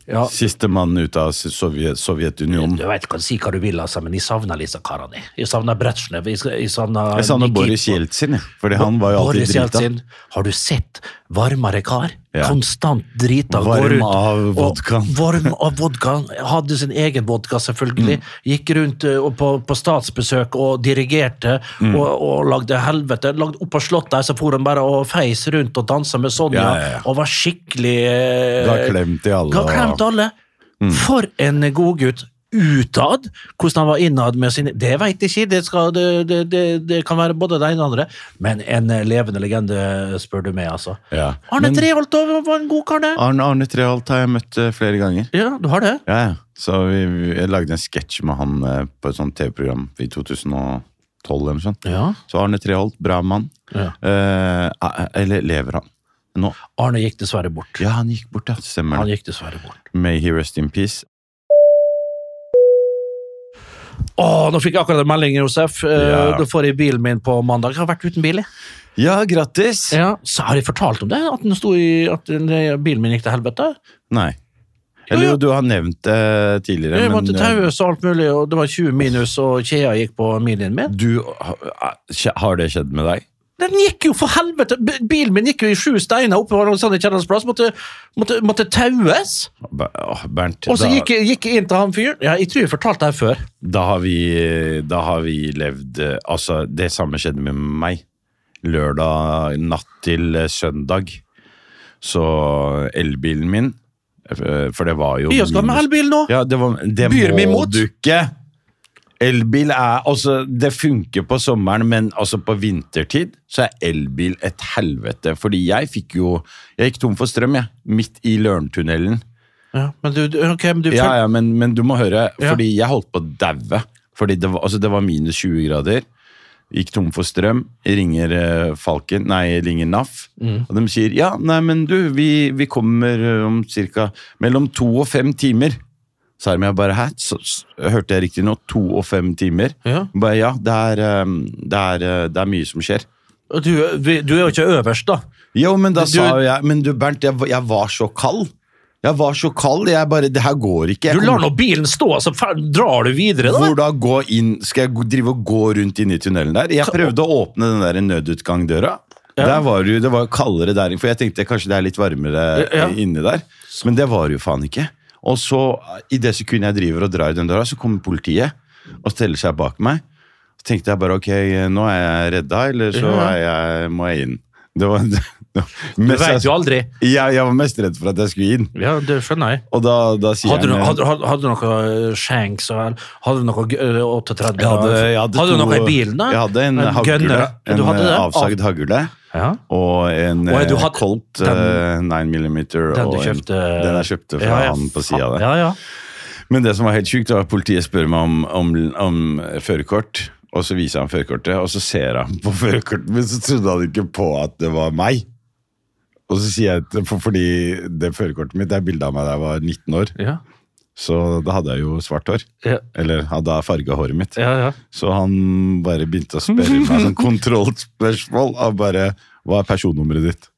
ja,
Sistemann ut av Sovjet, Sovjetunionen.
Du vet, kan si hva du vil, altså, men jeg savner disse karene. Jeg savner Brezjnev. Jeg, jeg savner
Jeg savner
Nikita-
Boris Jeltsin, jeg, fordi han var jo alltid
Boris
drita.
Jeltsin. Har du sett varmere kar?
Ja.
Konstant drita. går
Varm
rundt
av
og-
vodkaen.
Varm av vodkaen. Hadde sin egen vodka, selvfølgelig.
Mm.
Gikk rundt eh, og på, på statsbesøk og dirigerte
Mm.
og, og lagde helvete. Lagde opp på slottet der, så for han bare og feis rundt og dansa med Sonja.
Ja, ja, ja.
Og var skikkelig eh,
Ga klem til alle,
Ga
og-
klem til alle. For en godgutt utad. Hvordan han var innad med sine Det veit jeg ikke, det, skal, det, det, det, det kan være både det ene og det andre. Men en eh, levende legende, spør du meg, altså.
Ja.
Arne Treholt og- var en god kar, det.
Arne, Arne Treholt har jeg møtt eh, flere ganger.
Ja, du har det?
Ja, ja. Så vi, vi jeg lagde en sketsj med han eh, på et sånt TV-program i 2012. eller noe sånt.
Ja.
Så Arne Treholt, bra mann.
Ja.
Eh, eh, eller lever han nå?
Arne gikk dessverre bort.
Ja, han gikk bort, ja. Stemmer
Han
det.
gikk dessverre bort.
May he rest in peace.
Å, nå fikk jeg akkurat en melding, Josef. Eh,
Ja.
Da får jeg bilen min på mandag. Jeg har vært uten bil, jeg.
Ja, grattis!
Så har jeg fortalt om det? At, den sto i, at den, eh, bilen min gikk til helvete?
Nei.
Jo,
Eller
jo.
jo, du har nevnt det tidligere, men
Jeg
eh,
måtte taues og alt mulig, og det var 20 minus, og kjea gikk på minien min.
du, ha- har det skjedd med deg?
Den gikk jo for helvete! B- Bilen min gikk jo i sju steiner oppe på Alexander Kiellands plass. Måtte, måtte, måtte taues.
Ber- åh, Bernt,
Og så
da-
gikk, jeg- gikk jeg inn til han fyren. Ja, jeg tror jeg fortalte det her før.
da har vi, da har vi levd eh, Altså, det samme skjedde med meg. Lørdag natt til eh, søndag. Så elbilen min eh, For det var jo
Vi skal ha med
minus-
elbil nå!
Ja, det, var, det
Byr meg
må
imot.
du ikke! Elbil er Altså, det funker på sommeren, men altså på vintertid så er elbil et helvete. Fordi jeg fikk jo Jeg gikk tom for strøm, jeg. Midt i Lørentunnelen.
Ja, men du, du- ok, men du
Ja, ja, men, men du må høre,
Ja.
fordi jeg holdt på å daue. Fordi det var, altså, det var minus 20 grader. Gikk tom for strøm. Ringer eh, Falken, nei, ringer NAF.
Mm.
Og de sier ja, nei, men du, vi, vi kommer eh, om cirka mellom to og fem timer. Så er de jeg bare hæ? Så, s- hørte jeg riktig nå? To og fem timer?
Ja.
Bare ja, det er, eh, det er, eh, det er mye som skjer.
Og Du, vi- du er jo ikke øverst, da.
Jo, men da
Du-
sa jo jeg Men du, Bernt, jeg, var- jeg var så kald. Jeg var så kald. Jeg bare Det her går ikke. Jeg
Du lar
kommer-
nå bilen stå, så fer- drar du videre, da.
Hvor da gå inn Skal jeg gå- drive og gå rundt inn i tunnelen der? Jeg prøvde å åpne den der nødutgangdøra. Der var det, jo, det var jo kaldere der, for jeg tenkte kanskje det er litt varmere
Ja.
eh, inni der. Men det var det jo faen ikke. Og så, i det sekundet jeg driver og drar i den døra, så kommer politiet og steller seg bak meg. Så tenkte jeg bare ok, nå er jeg redda, eller så er jeg, må jeg inn. Det var, det,
Du vet jo aldri.
jeg, jeg var mest redd for at jeg skulle inn.
Ja, det skjønner jeg.
Og da, da sier
Hadde
jeg
du,
med-
hadde, hadde, hadde du noe eh, shanks og Hadde du noe g- eh, 38?
jeg hadde, jeg hadde,
hadde du
to-
noe i bilen, da?
Jeg hadde en, hagle.
gunner.
En
du hadde
eh,
det?
avsagd hagle.
Ja.
Og en
Å, ja, du
eh,
hadde-
Colt
den-
eh, 9mm.
Den du
og en-
kjøpte
den jeg kjøpte fra han på sida der.
Ja, ja.
Men det som var helt sjukt, var at politiet spør meg om, om, om førerkort. Og så viser han førerkortet, og så ser han på førerkortet, men så trodde han ikke på at det var meg. Og så sier jeg, at- for, fordi det førerkortet mitt, det er bilde av meg da jeg var 19 år.
Ja,
Så da hadde jeg jo svart hår.
Ja.
Eller hadde jeg farga håret mitt.
ja, ja.
Så han bare begynte å spørre meg sånn kontrollspørsmål. Og bare Hva er personnummeret ditt?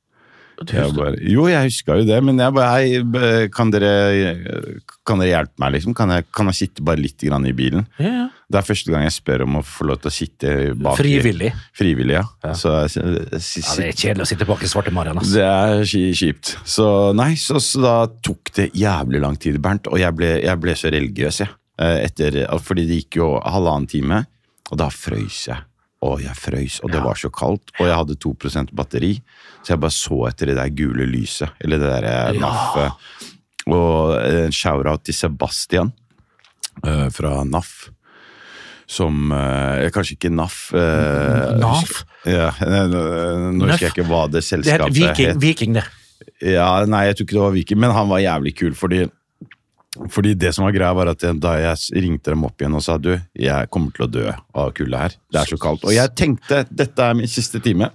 Jeg bare, jo, jeg huska jo det, men jeg bare hei, b- kan dere, kan dere hjelpe meg, liksom? Kan jeg, kan jeg sitte bare litt grann i bilen?
ja, ja.
Det er første gang jeg spør om å få lov til å sitte bak. i-
Frivillig.
Frivillig, ja. Så jeg, s- s-
Ja, det er kjedelig å sitte bak i svarte marien, ass.
det er ki- kjipt. Så nei, så, så da tok det jævlig lang tid, Bernt. Og jeg ble, jeg ble så religiøs, jeg. Eh, Etter, fordi det gikk jo halvannen time, og da frøys jeg. Og jeg frøys, og det var så kaldt. Og jeg hadde 2 batteri, så jeg bare så etter det der gule lyset. Eller det derre NAF. Og en shout-out til Sebastian eh, fra NAF. Som eh, Kanskje ikke NAF. eh,
NAF?
Ja, eh, nå husker jeg ikke hva det
Det er
selskapet
helt viking, viking, det.
ja, nei, jeg tror ikke det var Viking, men han var jævlig kul, fordi fordi det som var greia var at jeg- Da jeg ringte dem opp igjen og sa du, jeg kommer til å dø av kulda her. Det er så kaldt. Og jeg tenkte dette er min siste time.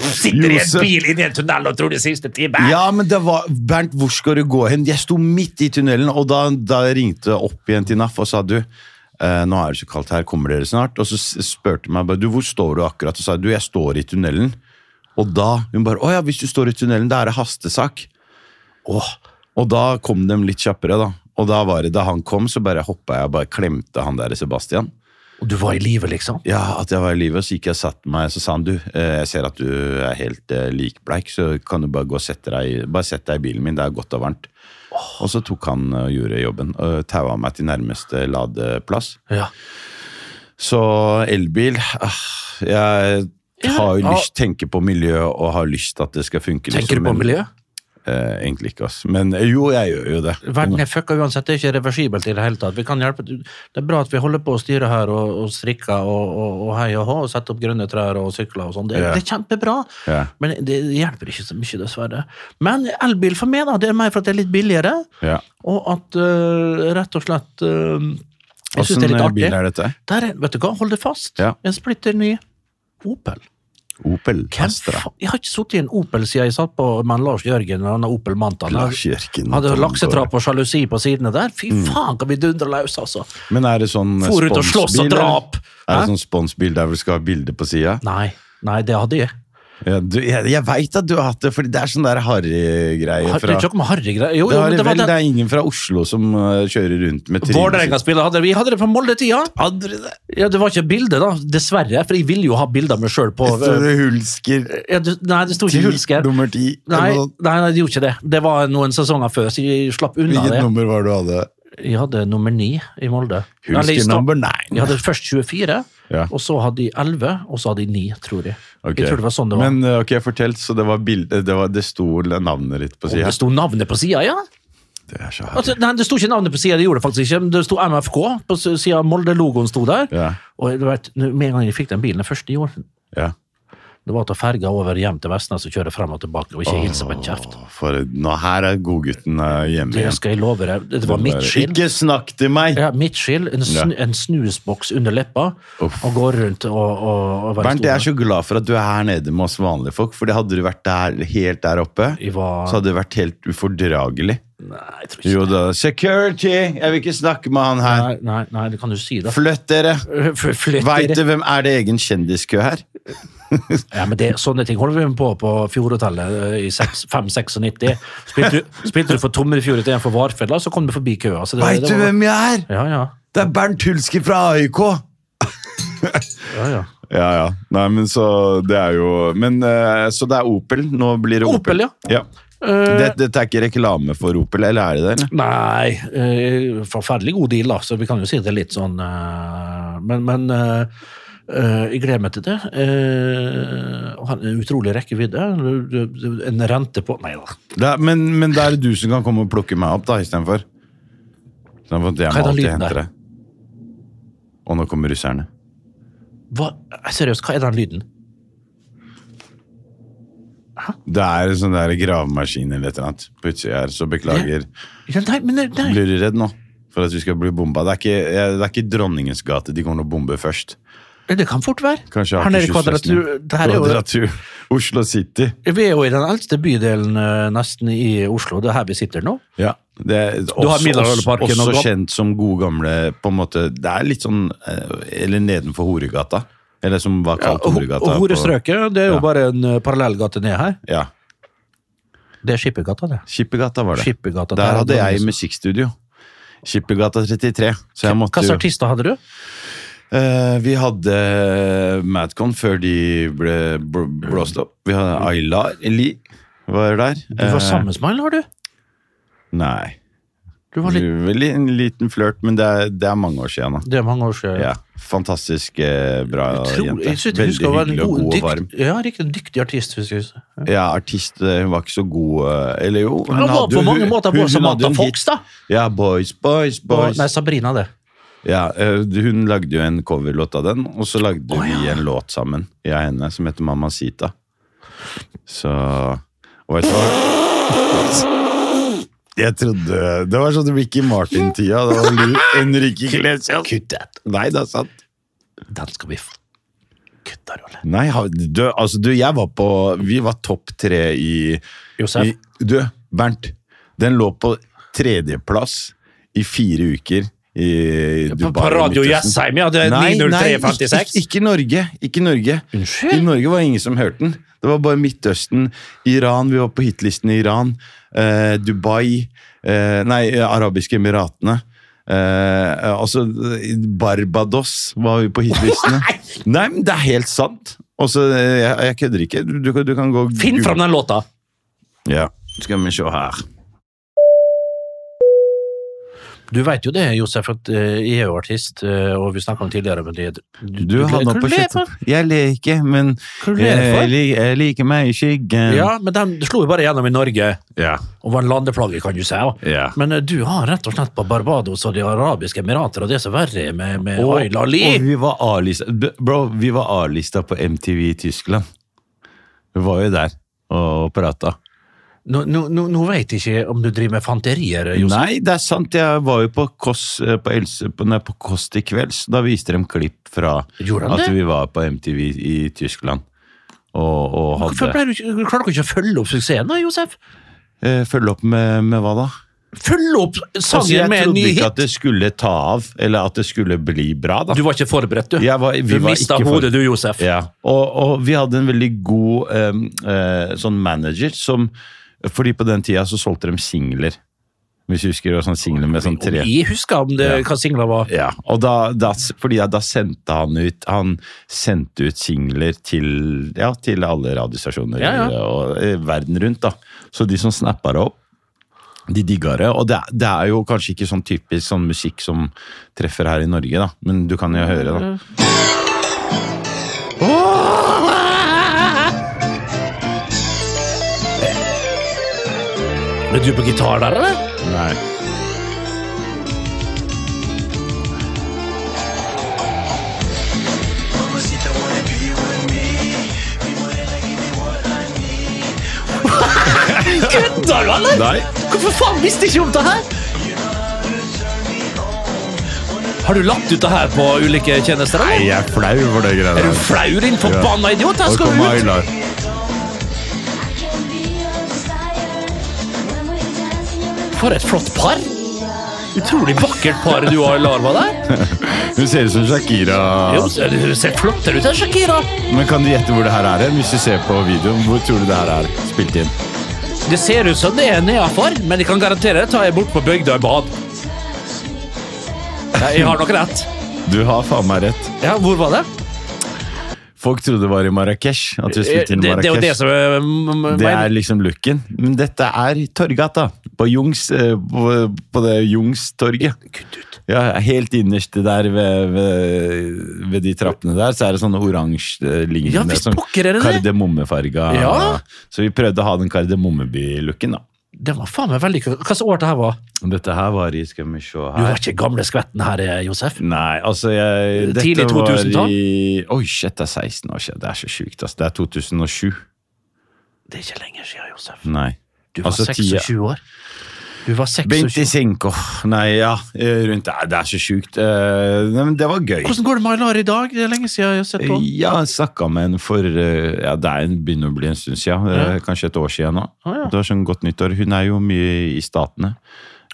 Sitter i en
Josef.
bil inni en tunnel og tror det er siste time!
Ja, men det var Bernt, hvor skal du gå hen? Jeg sto midt i tunnelen, og da, da jeg ringte opp igjen til NAF og sa du eh, nå er det så kaldt her, kommer dere snart? Og så s- spurte hun meg bare, du, hvor står du akkurat? Og sa jeg, du, jeg står i tunnelen. Og da Hun bare å ja, hvis du står i tunnelen, da er det hastesak.
Åh,
Og da kom de litt kjappere, da. Og da var det, da han kom, så bare hoppa jeg og bare klemte han der Sebastian.
og du var i live, liksom?
Ja, at jeg var i live, og så gikk jeg og satte meg, så sa han du, eh, jeg ser at du er helt eh, likbleik, så kan du bare gå og sette deg, i- bare sette deg i bilen min, det er godt og varmt. Og så tok han eh, og gjorde jobben, og taua meg til nærmeste ladeplass.
Ja.
Så elbil, ah, jeg har jo
Ja.
lyst, tenker på miljø og har lyst til at det skal funke. liksom,
Tenker du på
men-
miljø?
Eh, egentlig ikke, ass. Men eh, jo, jeg gjør jo det.
Verden er fucka uansett, det er ikke reversibelt i det hele tatt. Vi kan hjelpe. Det er bra at vi holder på å styre her og, og strikke og, og, og hei og hå, og sette opp grønne trær og sykler og sånn. Det,
Ja.
det er kjempebra,
Ja.
men det hjelper ikke så mye, dessverre. Men elbil for meg, da. Det er mer for at det er litt billigere,
Ja.
og at øh, rett og slett øh, Jeg syns det er litt
Åssen eh,
artig.
bil er dette?
Der er, vet du hva, hold det fast.
Ja.
En splitter ny Opel.
Opel
Hvem
Astra.
fa- Jeg har ikke sittet i en Opel siden jeg satt på med Lars Jørgen og denne Opel Mantaen.
Lars Jørgen. Mm.
Hadde laksetrapp og sjalusi på sidene der. Fy faen, kan vi dundre løs, altså!
Men er det sånn eh,
For ut og slåss og
sponsbil, eller?
drap.
Er
Hæ?
det sånn sponsbil der hvor du skal ha bilde på sida?
Nei, nei, det hadde jeg.
Ja, du- jeg jeg veit at du har hatt det, for det er sånn der harry-greie
Har, det
fra
er ikke noe med harrygreier. Jo,
det,
jo,
har det,
men
vel,
det var
det
det.
er ingen fra Oslo som eh, kjører rundt med trynet sitt.
Vålerenga-spillet hadde vi. Hadde det på Molde-tida. Ja, det var ikke bilde, da, dessverre, for jeg ville jo ha bilde av meg sjøl på eh,
Så det Hulsker
ja, det, Nei, det sto ikke
til
Hulsker.
nummer ti.
Nei,
eller noe sånt.
nei, nei, det gjorde ikke det. Det var noen sesonger før, så jeg slapp unna
Hvilket
det.
nummer var det du hadde?
Jeg hadde nummer ni i Molde. Eller i
Hulsker
start-
number nine.
Jeg hadde først 24,
Ja.
og så hadde jeg 11, og så hadde jeg 9, tror jeg.
Ok.
Jeg tror det var sånn det var.
Men eh, ok, fortell, så det var bilde Det, var- det sto navnet ditt på
Om
sida?
det sto navnet på sida, ja?
Det er så harry.
Altså, nei, det sto ikke navnet på sida, det gjorde det faktisk ikke. men Det sto MFK på sida. Molde-logoen sto der.
Ja,
Og du vet, når- med en gang jeg fikk den bilen den første i år,
ja.
Det var å ta ferga over hjem til Vestnes og kjøre frem og tilbake og ikke hilse på en kjeft.
Åh, For nå her er godgutten eh, hjemme
Det skal jeg love deg. Det var mitt skyld.
Ikke snakk til meg!
Ja, midtskill, en, sn en snusboks under leppa, og går rundt og, og, og være
Bernt, jeg er
stor.
så glad for at du er her nede med oss vanlige folk, for hadde du vært der, helt der oppe,
Jeg var-
så hadde det vært helt ufordragelig.
Nei, jeg tror ikke
Jo da, security! Jeg vil ikke snakke med han her.
Nei, nei, nei, det kan du si, da. Eh,
Flytt dere!
F- flytt
Veit
dere.
du hvem er det egen kjendiskø her?
Ja, men det, sånne ting holder vi med på på Fjordhotellet eh, i seks- 596. Spilte, du- spilte du for Tomrefjord til en for Varfella, så kom du forbi køa. Så det-
Veit
det
du
var-
hvem jeg er?
Ja, ja.
Det er Bernt Hulski fra AIK!
ja, ja.
Ja, ja. Nei, men så Det er jo Men eh, så det er Opel. Nå blir det Opel.
Opel, ja. Eh.
Det- Dette er ikke reklame for Opel, eller er det det? eller?
Nei, eh, forferdelig god deal, da, så vi kan jo si det er litt sånn eh, Men, men eh, eh, jeg gleder meg til det. Eh, og han- utrolig rekkevidde. Du- du- du- En rente på Nei da.
Det er, men, men det er du som kan komme og plukke meg opp, da, istedenfor. Sånn at jeg
Hva er
må
den
alltid
lyden
hente
der?
deg. Og nå kommer russerne.
Hva, seriøst, hva er den lyden?
Det er en sånn der gravemaskin eller et eller annet på utsida her, så beklager.
Ja, nei, men det- nei.
Blir du redd nå for at vi skal bli bomba? Det er ikke, eh, det er ikke Dronningens gate de kommer til å bombe først.
Det kan fort være.
Kanskje
Her nede i
Akershusfesten.
kvadratur- det her er jo-
Kvadratur. Oslo City.
Vi er jo i den eldste bydelen eh, nesten i Oslo. Det er her vi sitter nå.
Ja. Det er også,
har Middelalderparken
også,
og
også
Gam-
kjent som gode gamle på en måte, Det er litt sånn eh, Eller nedenfor Horegata. Eller som var kalt
og
Horegata.
og
på-
Horestrøket, det er jo
Ja.
bare en eh, parallellgate ned her.
Ja.
Det er Skippergata, det.
Skippergata var det.
Skippergata, der
der hadde
hadde
jeg
vi-
musikkstudio. Skippergata 33. Så jeg måtte
Hvilke
jo
artister hadde du?
Eh, Vi hadde eh, Madcon før de ble bl blåst opp. Vi hadde Ayla Eli var der.
Mm.
Eh,
Du var sammen med han, har du?
Nei.
Du var litt,
Vel, en liten flørt, men det er, det er mange år siden. Da.
det er mange år siden.
Ja, fantastisk eh, bra
Jeg tror,
jente.
jeg synes jeg
Veldig
husker hun var en
hyggelig og god og varm.
dykt- Ja, riktig, en dyktig artist, husker jeg.
Ja, artist eh, Hun var ikke så god eh, Eller jo, hun
Hun var
hadde jo-
på mange
hun-
måter
hun-
bare
hun
som
hadde jo
Mata
en
Fox,
hit.
da.
Ja, Boys, Boys,
Og,
Boys.
nei, Sabrina, det.
Ja, eh, Hun lagde jo en coverlåt av den, og så lagde vi en låt sammen, jeg og henne, som heter Mamacita. Så Og vet du hva? Jeg trodde Det var sånn Ricky Martin-tida. Det var Lu- Enrique Iglesias.
Kutt det.
Nei, det er sant.
Den skal vi få. Kutt der, Ole.
Nei, ha- du, altså, du, jeg var på Vi var topp tre i, i
Josef,
Du, Bernt. Den lå på tredjeplass i fire uker i Dubai.
På Radio
Midtøsten.
Jessheim, ja.
Eh,
Det er
Nei, nei, ikke,
90356.
ikke Norge. Ikke Norge.
Unnskyld?
I Norge var det ingen som hørte den. Det var bare Midtøsten, Iran, vi var på hitlisten i Iran, eh, Dubai, eh, nei, eh, Arabiske Emiratene. Eh, altså, eh, Barbados var vi på hitlistene. nei, men det er helt sant. Også, eh, jeg, jeg kødder ikke. Du, du, kan- du kan gå og
Finn
google.
fram den låta!
Ja, skal vi se her.
du vet jo det, Josef, at eh, jeg er jo artist, eh, og vi snakket om tidligere, men det
Du, hadde
hva
noe
du
på
ler
kjøttet. Jeg ler ikke, men
Hva du ler for?
jeg, lik- jeg liker meg i skyggen.
Ja, men den slo jo bare gjennom i Norge,
Ja.
og var en landeplage, kan du si. ja.
Ja.
Men eh, du har rett og slett på Barbados og De arabiske emirater, og det er så verre med, med
Og-
Ayla Ali.
Og vi var A-lista B- Bro, vi var A-lista på MTV i Tyskland. Vi var jo der og prata.
Nå, nå, nå nå vet jeg ikke om du driver med fanterier, Josef.
Nei, det er sant. Jeg var jo på Kåss eh, på Else, på, nei, på Kåss til kvelds. Da viste de klipp fra
Gjorde han
at
det?
vi var på MTV i Tyskland. Og, og
Hvorfor
hadde
ble du, ikke- klarer dere ikke å følge opp suksessen, da, Josef?
eh, Følge opp med, med hva da?
Følge opp
Altså, jeg
sangen med en
trodde
ny
ikke at
hit!
det skulle ta av, eller at det skulle bli bra, da.
Du var ikke forberedt, du.
Jeg var- vi
du
var
mista
ikke
hodet,
forberedt.
du, Josef.
Ja, og, og vi hadde en veldig god em, eh, sånn manager som Fordi på den tida så solgte de singler. Hvis du husker, og sånn singler med sånn tre
Jeg husker om det, hva singla var.
ja, og da, da, fordi da sendte han ut Han sendte ut singler til, ja, til alle radiostasjoner
Ja,
Og, eh, verden rundt. da Så de som snappa det opp, de digga det. Og det, er- det er jo kanskje ikke sånn typisk sånn musikk som treffer her i Norge, da men du kan jo høre, da.
Mm. Er du på gitar der, eller?
Nei.
Kødder du, eller?
Nei.
Hvorfor faen visste jeg ikke om det her? Har du lagt ut det her på ulike tjenester?
Nei,
Eller?
jeg er flau for det greia
Er du flau, din forbanna idiot? Her
Her
skal du ut! For et flott par! Utrolig vakkert par du har i larva der.
Hun ser ut som Shakira.
Jo, ser- Hun ser flottere ut enn Shakira.
Men kan du gjette hvor det her er? hen? Hvis du ser på videoen, hvor tror du det her er spilt inn?
Det ser ut som det er nedafor, men jeg kan garantere det tar jeg bort på bygda i bad. Nei, Jeg har nok rett.
Du har faen meg rett.
Ja, Hvor var det?
Folk trodde det var i Marrakech. At vi
Det,
spilte inn i
det er jo
Marrakech.
det som er m- m-
Det
men-
er liksom looken. Men dette er Torgata. På Jungs eh, På, på det Jungstorget. Ja, helt innerst der ved, ved, ved de trappene der, så er det sånne
Ja,
oransje-lignende.
visst pokker er det det.
kardemommefarga.
Ja.
Så vi prøvde å ha den kardemommeby-looken, da.
Det var faen meg veldig kult. Hva slags år det her var?
Og Dette her var i Skal vi se
Du
her
var ikke gamle skvetten her, eh, Josef.
Nei, altså jeg, dette
Tidlig 2000-tall?
var i Oi, shit, det er 16 år siden. Det er så sjukt, altså. Det er 2007.
Det er ikke lenger siden, Josef.
Nei.
Du var
Altså,
26 år. Du var 26
25. Nei, ja. eh, Rundt der. Det er så sjukt. Eh, Nei, men det var gøy.
Hvordan går det med Aylar i dag? Det er lenge siden jeg har sett på.
Eh, Ja, jeg snakka med en for eh, ja, Det er en, begynner å bli en stund siden. eh, Kanskje et år siden nå. Det var sånn godt nyttår. Hun er jo mye i Statene.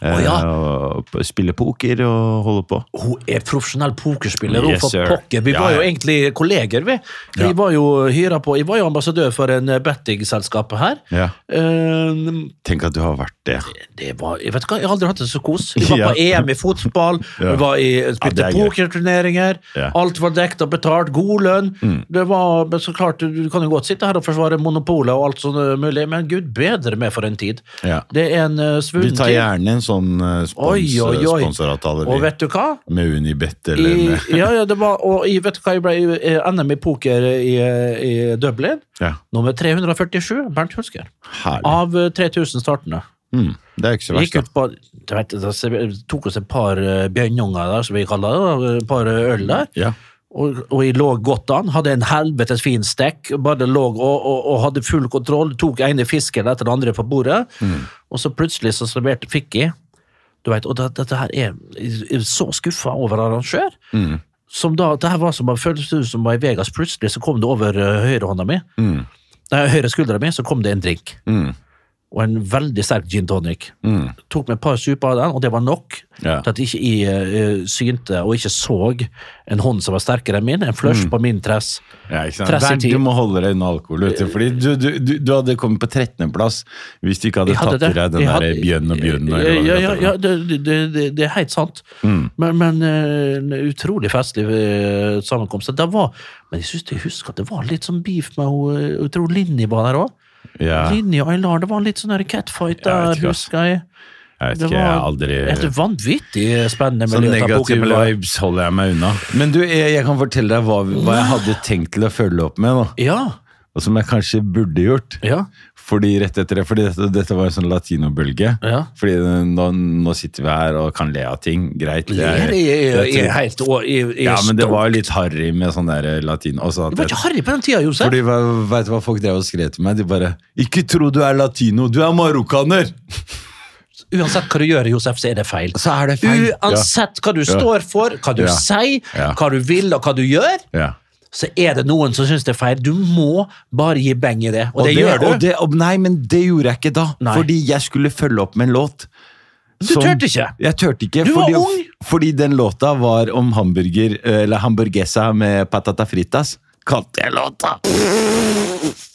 eh,
Å, ja.
og p- spiller poker og holder på.
Hun er profesjonell pokerspiller.
Yes,
hun
sir.
for pokker. Vi
Ja,
var jo
ja.
egentlig kolleger, vi. Jeg var jo hyra på Jeg var jo ambassadør for en eh, bettingselskap her.
Ja.
Eh,
Tenk at du har vært det.
det var, jeg vet ikke, hva, jeg har aldri hatt det så kos. Vi var
Ja.
på EM i fotball,
Ja.
vi var i, spilte
Ja, det er gøy.
pokerturneringer.
Ja. Mm.
Alt var dekket og betalt, god lønn. Det var, men så klart, Du du kan jo godt sitte her og forsvare monopolet og alt sånt eh, mulig, men gud bedre meg for en tid.
Ja.
Det er en uh,
Vi
svunnen
tar
tid.
gjerne en sånn eh, spons,
Oi, oi, oi.
sponsoravtale. vi.
Og vet du hva?
Med Unibet eller eh,
I,
med
ja, ja, det var, og i, vet du hva, jeg ble i eh, NM i poker i, eh, i Dublin.
ja,
Nummer 347, Bernt Hulsker.
Herlig.
Av eh, 3000 startende.
Mm, Ah. det er ikke så
Vi
verst,
gikk
da.
ut på, du vet, da se- tok oss et par eh, bjørnunger der, som vi kaller det, da, et par eh, øl der.
Ja.
Og, og jeg lå godt an, hadde en helvetes fin stekk, bare lå og, og, og hadde full kontroll, tok ene fisken etter den andre på bordet,
Mm.
og så plutselig så serverte fikk jeg, du vet, og det, dette her er, jeg er så skuffa over arrangør,
Mm.
som da, det her var som, det føltes ut som det var i Vegas, plutselig så kom det over eh, høyre hånda mi, nei, høyre skuldra mi, så kom det en drink,
Mm.
og en veldig sterk gin tonic.
Mm.
Tok meg et par super av den, og det var nok
Ja.
til at ikke jeg eh, synte og ikke så en hånd som var sterkere enn min, en flush
Mm.
på min tress.
Ja, ikke sant?
Trass i
Bernt,
tid.
du må holde deg unna alkohol. Vet du, fordi du, du, du, du hadde kommet på 13.-plass hvis du ikke hadde,
Jeg hadde
tatt i deg den
Jeg
der
hadde-
bjønn og bjønn.
Ja,
eller hva det
ja, ja,
heter. Mm.
ja det, det, det, det er helt sant. Men, men eh, en utrolig festlig eh, sammenkomst. Det var, men jeg syns jeg husker at det var litt sånn beef med hun eh, Jeg tror Linni var der òg.
ja.
Linni og Aylar, det var litt sånn der catfight
Jeg vet
der,
ikke, ass.
husker jeg.
Jeg vet
Det
ikke, jeg har
var
aldri
et vanvittig spennende
Sånn
miljø. dette
negative
pokermiljøet.
vibes holder jeg meg unna. Men du, jeg, jeg kan fortelle deg hva, hva jeg hadde tenkt til å følge opp med, da.
Ja,
og som jeg kanskje burde gjort.
ja,
Fordi rett etter det, fordi dette, dette var en sånn latinobølge.
ja.
Fordi nå, nå sitter vi her og kan le av ting. Greit. det er-
Ler i,
det
i,
er-
i helt og i, i
ja, men det
stolt.
var jo litt harry med sånn der latin. Også, at,
Det var ikke harry på den tida, Josef.
fordi, hva- vet du hva folk drev og skrev til meg? De bare 'Ikke tro du er latino, du er marokkaner!'
Uansett hva du gjør, Josef, så er det feil.
Så er det feil.
Uansett hva du står for, hva du
Ja.
sier,
Ja.
hva du vil og hva du gjør,
Ja. ja.
så er det noen som syns det er feil. Du må bare gi beng i det, og, det, gjør du.
Og det, og nei, men det gjorde jeg ikke da.
Nei.
Fordi jeg skulle følge opp med en låt.
Du tørte ikke.
Jeg tørte ikke.
Du var
fordi,
ung.
Fordi den låta var om hamburger, eh, eller hamburguesa med patata fritas. Kalte jeg låta.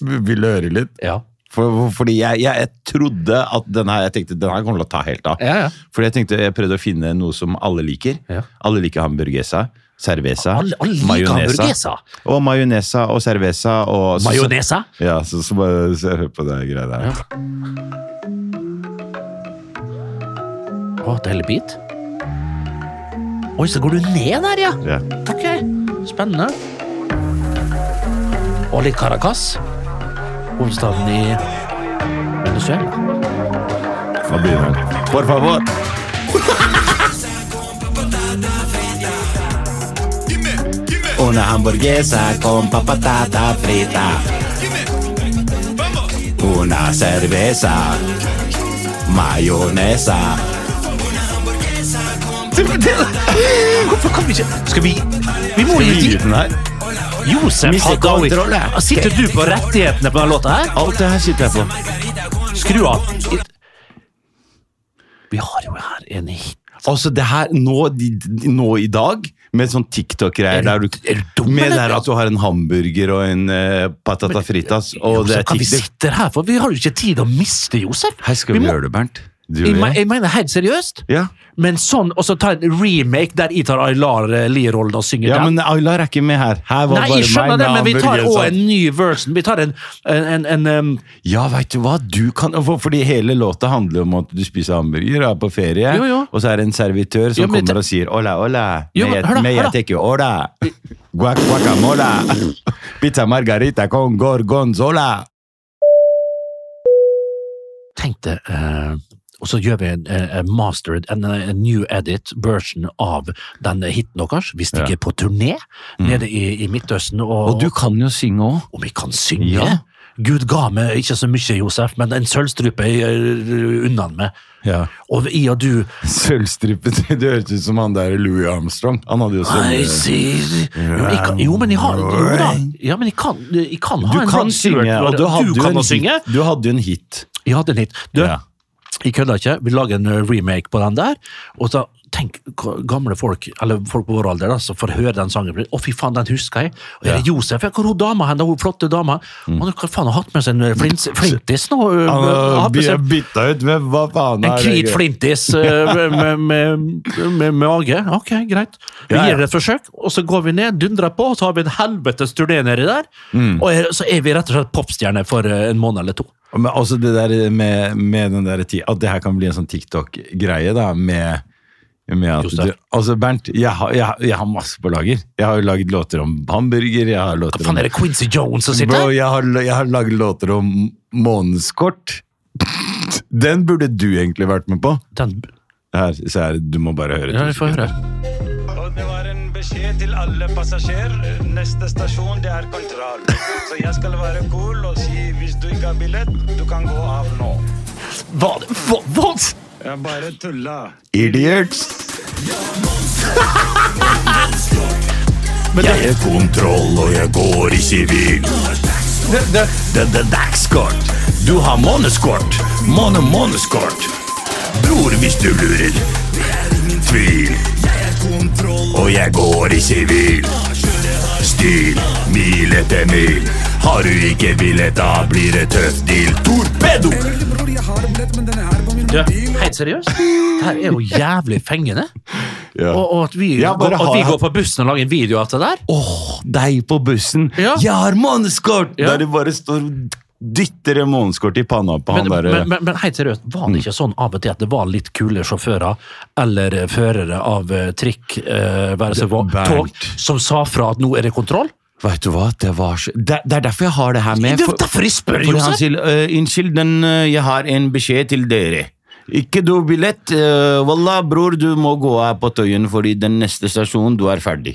Vil du høre litt?
ja.
For, for- fordi jeg, jeg, jeg trodde at den her, jeg tenkte, den her kommer til å ta helt av.
Ja, ja.
Fordi jeg tenkte, jeg prøvde å finne noe som alle liker.
Ja.
Alle liker hamburguesa, cerveza,
Alle- alle liker hamburguesa.
Og mayonesa og cerveza. Og, så-
Majonesa?
ja, så, så bare så hør på det greia der.
Å, det hele bit. Oi, så går du ned der, ja.
Ja.
Ok, spennende. Og litt Caracas. Hovedstaden i Venezuela.
Nå begynner den. For favor! Una hamburguesa con papatata frita. Una cerveza. Mayonesa.
Hvorfor kan vi ikke Skal vi Vi må gi
Lyden her.
Josef
Mr.
Hadaoui.
Kontroll, ja.
Sitter du på rettighetene på denne låta her?
Alt det her sitter jeg på.
Skru av. Vi har jo her en hit.
Altså, det her nå, nå i dag, med sånn TikTok-greier der du
Er du dum,
Med det
eller?
her at du har en hamburger og en eh, patata fritas, og det
Så
er
kan vi
TikTok.
sitte her, for vi har jo ikke tid å miste Josef.
Her skal vi,
må-
gjøre det, Bernt. Du
Jeg,
og
me-
jeg.
jeg mener helt seriøst.
Ja.
Men sånn, og så ta en remake der jeg tar Aylar eh, Lie-rollen og synger
ja,
den.
men Aylar er ikke med her. Her var
Nei,
bare
jeg skjønner
meg
det, men vi tar
hamburger,
også
sant?
en ny version. Vi tar en, en, en, en um,
Ja, veit du hva? Du kan for- Fordi hele låta handler om at du spiser hamburger og er på ferie,
Jo, jo.
og så er det en servitør som
Ja, men
kommer
det-
og sier 'hola, hola'.
Jo,
me-
men hør da,
me-
hør da.
jeg tenker 'hola'. Guac, guacamola. Pizza margarita con gorgonzola.
Tenk det. eh, og så gjør vi en, eh, en mastered, en, eh, en new edit version av den hiten deres. Vi stikker på turné nede i, i Midtøsten. Og,
Mm. Og du kan jo synge òg.
om jeg kan synge?
Ja.
Gud ga meg ikke så mye, Josef, men en sølvstrupe jeg, eh, unna meg.
Ja.
Og i og du
Sølvstrippet. Det høres ut som han der Louis Armstrong. Han hadde jo
I
sånn
see. Jo, jeg kan, jo, men jeg har Jo da. Ja, men jeg kan, jeg kan ha
Du
en
kan
Rod
synge,
Stewart-
og du hadde,
du
jo
kan
en
å synge.
hit. du hadde jo en hit.
Jeg hadde en hit. Du,
Ja.
jeg kødder ikke. Vi lager en eh, remake på den der. Og da, tenk hva gamle folk, eller folk på vår alder, da, som får høre den sangen. Å, fy faen, den husker jeg. Og er det Josef? Ja, hvor er hun dama hen? da? Hun flotte dama. Mm. Han har faen har hatt med seg en eh, flint, flintis nå. eh,
Han
har hatt med
har
seg
bytta ut med hva faen
en
er det?
hvit flintis eh, med, med, med, med mage. Ok, greit. Vi
Ja, ja.
gir det et forsøk, og så går vi ned, dundrer på, og så har vi en helvetes turné nedi der.
Mm.
Og er, så er vi rett og slett popstjerner for eh, en måned eller to.
Men også det der med, med den der tid, at det her kan bli en sånn TikTok-greie da, med, med at
Josef.
du, altså Bernt, jeg har, jeg, har- jeg har masse på lager. Jeg har jo laget låter om hamburger, jeg har låter
Faen,
om,
er det Quincy Jones som sitter
bro,
her?
jeg har, jeg har laget låter om månedskort. Den burde du egentlig vært med på.
Den,
Her, se her, du må bare høre.
ja, vi får høre.
Og det var en beskjed til alle passasjerer. Neste stasjon, det er kontroll. Så jeg skal være cool og si hvis du ikke har billett, du kan gå av nå.
Hva, hva, hva?
Jeg bare tulla.
Idiots!
Jeg
er kontroll, og jeg går i sivil.
Det, det,
Det er dagskort. Du har månedskort. Måne, månedskort. Bror, hvis du lurer. Det er ingen tvil. Og jeg går i sivil. Stil, mil etter mil. Har du ikke billett, da blir det tøff deal. Torpedo!
du, helt seriøst? Det her er jo jævlig fengende. Og, og at vi,
Ja, bare
går, at
ha-
vi går på bussen og lager en video av det der?
Åh, deg på bussen.
Ja.
Jeg har månedskort!
Ja.
Der du bare står og dytter en månedskort i panna på
Men,
han
men,
derre
men, men helt seriøst, var det ikke sånn av og til at det var litt kule sjåfører eller eh, førere av eh, trikk, eh, være seg hva,
Bernt.
tog, som sa fra at nå er det kontroll?
Vet du hva, det var så Det, det er derfor jeg har det her med.
Det er derfor jeg spør,
fordi han
Josef!
sier «Øh, Unnskyld, den, øh, jeg har en beskjed til dere. Ikke du billett. Uh, wallah, bror, du må gå her på Tøyen, fordi den neste stasjonen, du er ferdig.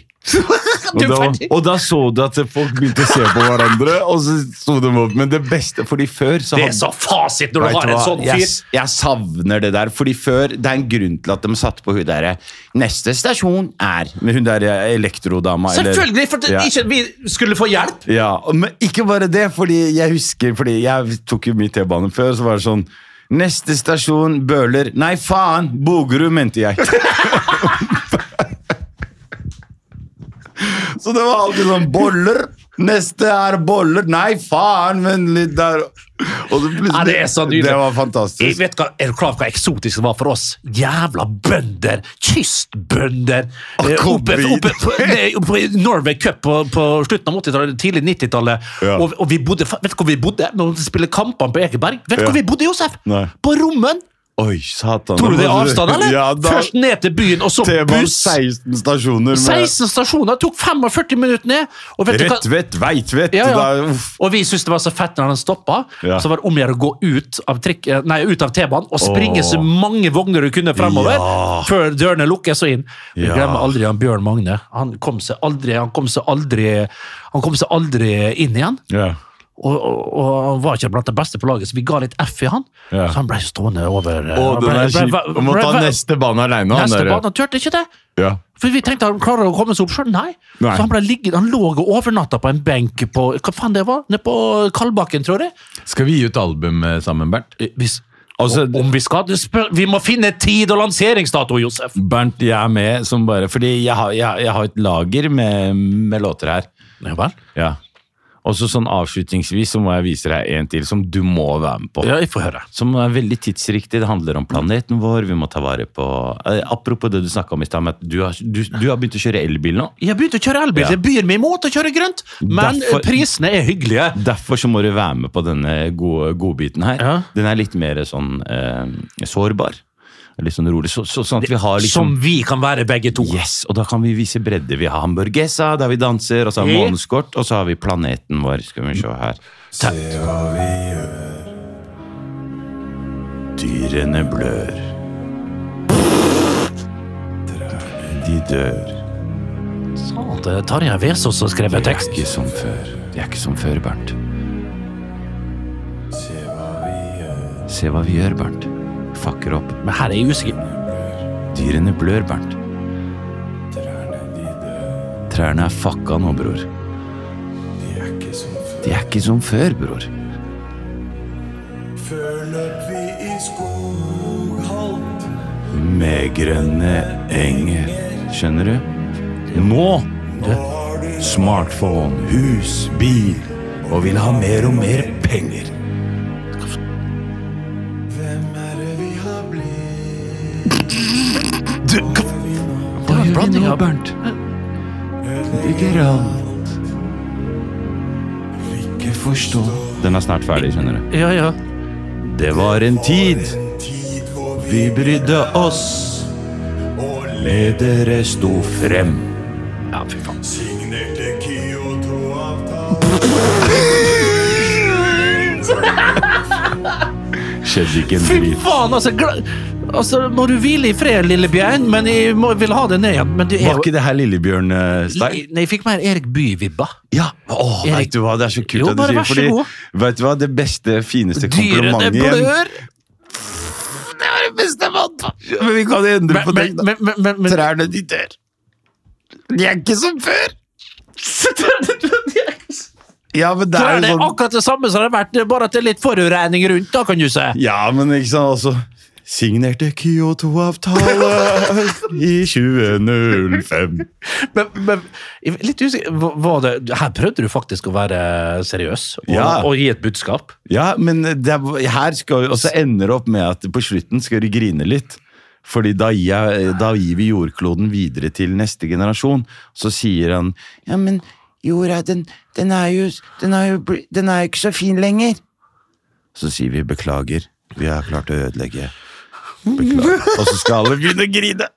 Og da, og da så du at folk begynte å se på hverandre, og så sto de opp. Men det beste Fordi før så
Det
hadde-
er så fasit når du
Vet
har en sånn
jeg,
fyr!
s- jeg savner det der, fordi før Det er en grunn til at de satte på hun derre Neste stasjon er Med hun der elektrodama. eller-
Selvfølgelig! For det,
Ja.
ikke vi skulle få hjelp!
Ja, og- men ikke bare det, fordi jeg husker Fordi jeg tok jo mye T-bane før, så var det sånn Neste stasjon Bøler. Nei, faen! Bogerud, mente jeg. så det var alltid sånn Boller! Neste er boller. Nei, faen, men litt der Og så plutselig
Ja, det er så nydelig.
Det var fantastisk.
Jeg vet hva, er du klar over hva eksotisk det var for oss? Jævla bønder! Kystbønder!
Å,
Eh,
kom
Oppe,
igjen.
oppe på, nei, oppe på Norway Cup på, på slutten av 80-tallet, tidlig 90-tallet.
Ja.
Og, og vi bodde, fa- vet du hvor vi bodde når vi spiller kampene på Ekeberg? Vet du
Ja.
hvor vi bodde, Josef?
Nei.
På Rommen!
Oi, satan.
Tror du det er avstand, eller?
Ja, da,
Først ned til byen, og så
T-banen
buss.
16 stasjoner. med-
16 stasjoner, tok 45 minutter ned. Og vet du hva?
Rødtvet, Veitvet
Ja, ja.
da- uff.
Og vi syntes det var så fett når han stoppa.
Ja.
Så var det om å gjøre å gå ut av, trikk, eh, nei, ut av T-banen og springe så mange vogner du kunne fremover
Ja.
før dørene lukkes og inn. Vi
Ja.
glemmer aldri han Bjørn Magne. Han kom seg aldri, han kom seg aldri, han kom seg aldri inn igjen.
Ja.
Og, og, og han var ikke blant de beste på laget, så vi ga litt F i han.
Ja.
Så han ble stående over eh,
Å,
han
den
ble-
er
ble-
kjip.
ble-
Du må ta
ble-
neste bane aleine.
Neste bane. Han turte ikke det.
Ja.
For vi tenkte han klarer å komme seg opp sjøl. Nei.
Nei.
Så han ble liggende, han lå og overnatta på en benk på Hva faen det var? Nede på Kalbakken, tror jeg.
Skal vi gi ut album eh, sammen, Bernt?
Hvis,
Altså,
om vi skal du spør, Vi må finne tid og lanseringsdato, Josef!
Bernt, jeg er med som bare Fordi jeg har, jeg, jeg har et lager med, med låter her.
Ja vel?
Ja. Og så sånn avslutningsvis så må jeg vise deg en til som du må være med på.
Ja, jeg får høre.
Som er veldig tidsriktig. Det handler om planeten vår, vi må ta vare på eh, Apropos det du snakka om i stad, med at du har, du, du har begynt å kjøre elbil nå.
Jeg begynte å kjøre elbil.
Ja.
Det byr meg imot å kjøre grønt, men
Derfor-
prisene er hyggelige.
Derfor så må du være med på denne gode godbiten her.
Ja.
Den er litt mer sånn eh, sårbar. Litt sånn rolig. Så, så, sånn at vi har liksom
Som vi kan være begge to.
Yes, og da kan vi vise bredde. Vi har hamburgesa, der vi danser, og så har vi
Ja.
månedskort, og så har vi planeten vår. Skal vi se her.
Ta-
Dyrene blør. Trærne, de dør.
Sa det Tarjei Vesaas som skrev
Det er
tekst.
ikke som før. Det er ikke som før, Bernt. Se hva vi gjør, Bernt. Fucker opp.
Men her er jeg usikker.
Dyrene blør, Bernt. Trærne er fucka nå, bror. De er ikke som før, bror. Med grønne enger. Skjønner du? Nå! Smartphone, hus, bil. Og vil ha mer og mer penger. Hva
en
gjør vi
blanding
nå,
av-
Bernt? Bygger alt. Ikke forstå Den er snart ferdig, skjønner du.
Ja, ja.
Det var en tid vi brydde oss, og ledere sto frem.
ja fy faen.
Skjedde ikke en
Fy
drit.
faen, altså, gla- altså Må du hvile i fred, lille Bjørn, men jeg må, vil ha det ned igjen. Men det er
Var
jo
ikke det her Lillebjørn-stein?
Nei, jeg fikk mer Erik Bye-vibba.
Ja! Åh,
Erik-
vet du hva, det er så kult
Jo,
at du
bare
sier
vær så
fordi,
god.
Vet du hva, det beste, fineste
Dyrene
komplimentet igjen
blør!
Det var det beste jeg fant på! Men vi kan jo endre
Men,
på det.
men, men, men, men, men
Trærne de dør. De er ikke som før! Ja, men det er
Trærne
jo
er
sånn
akkurat det samme som det har vært, det er bare at det er litt forurensning rundt, da, kan du si.
Ja, men ikke sant, altså Signerte Kyoto-avtale i 2005.
Men, men jeg er litt usikker hva- Var det Her prøvde du faktisk å være seriøs og,
Ja.
og gi et budskap.
Ja, men det er, her skal Og så ender det opp med at på slutten skal du grine litt. Fordi da gir, jeg, da gir vi jordkloden videre til neste generasjon. Så sier han Ja, men jorda, den, den er jo Den er jo bli- den er jo ikke så fin lenger. Så sier vi beklager. Vi har klart å ødelegge. Beklager. Og så skal alle begynne å grine.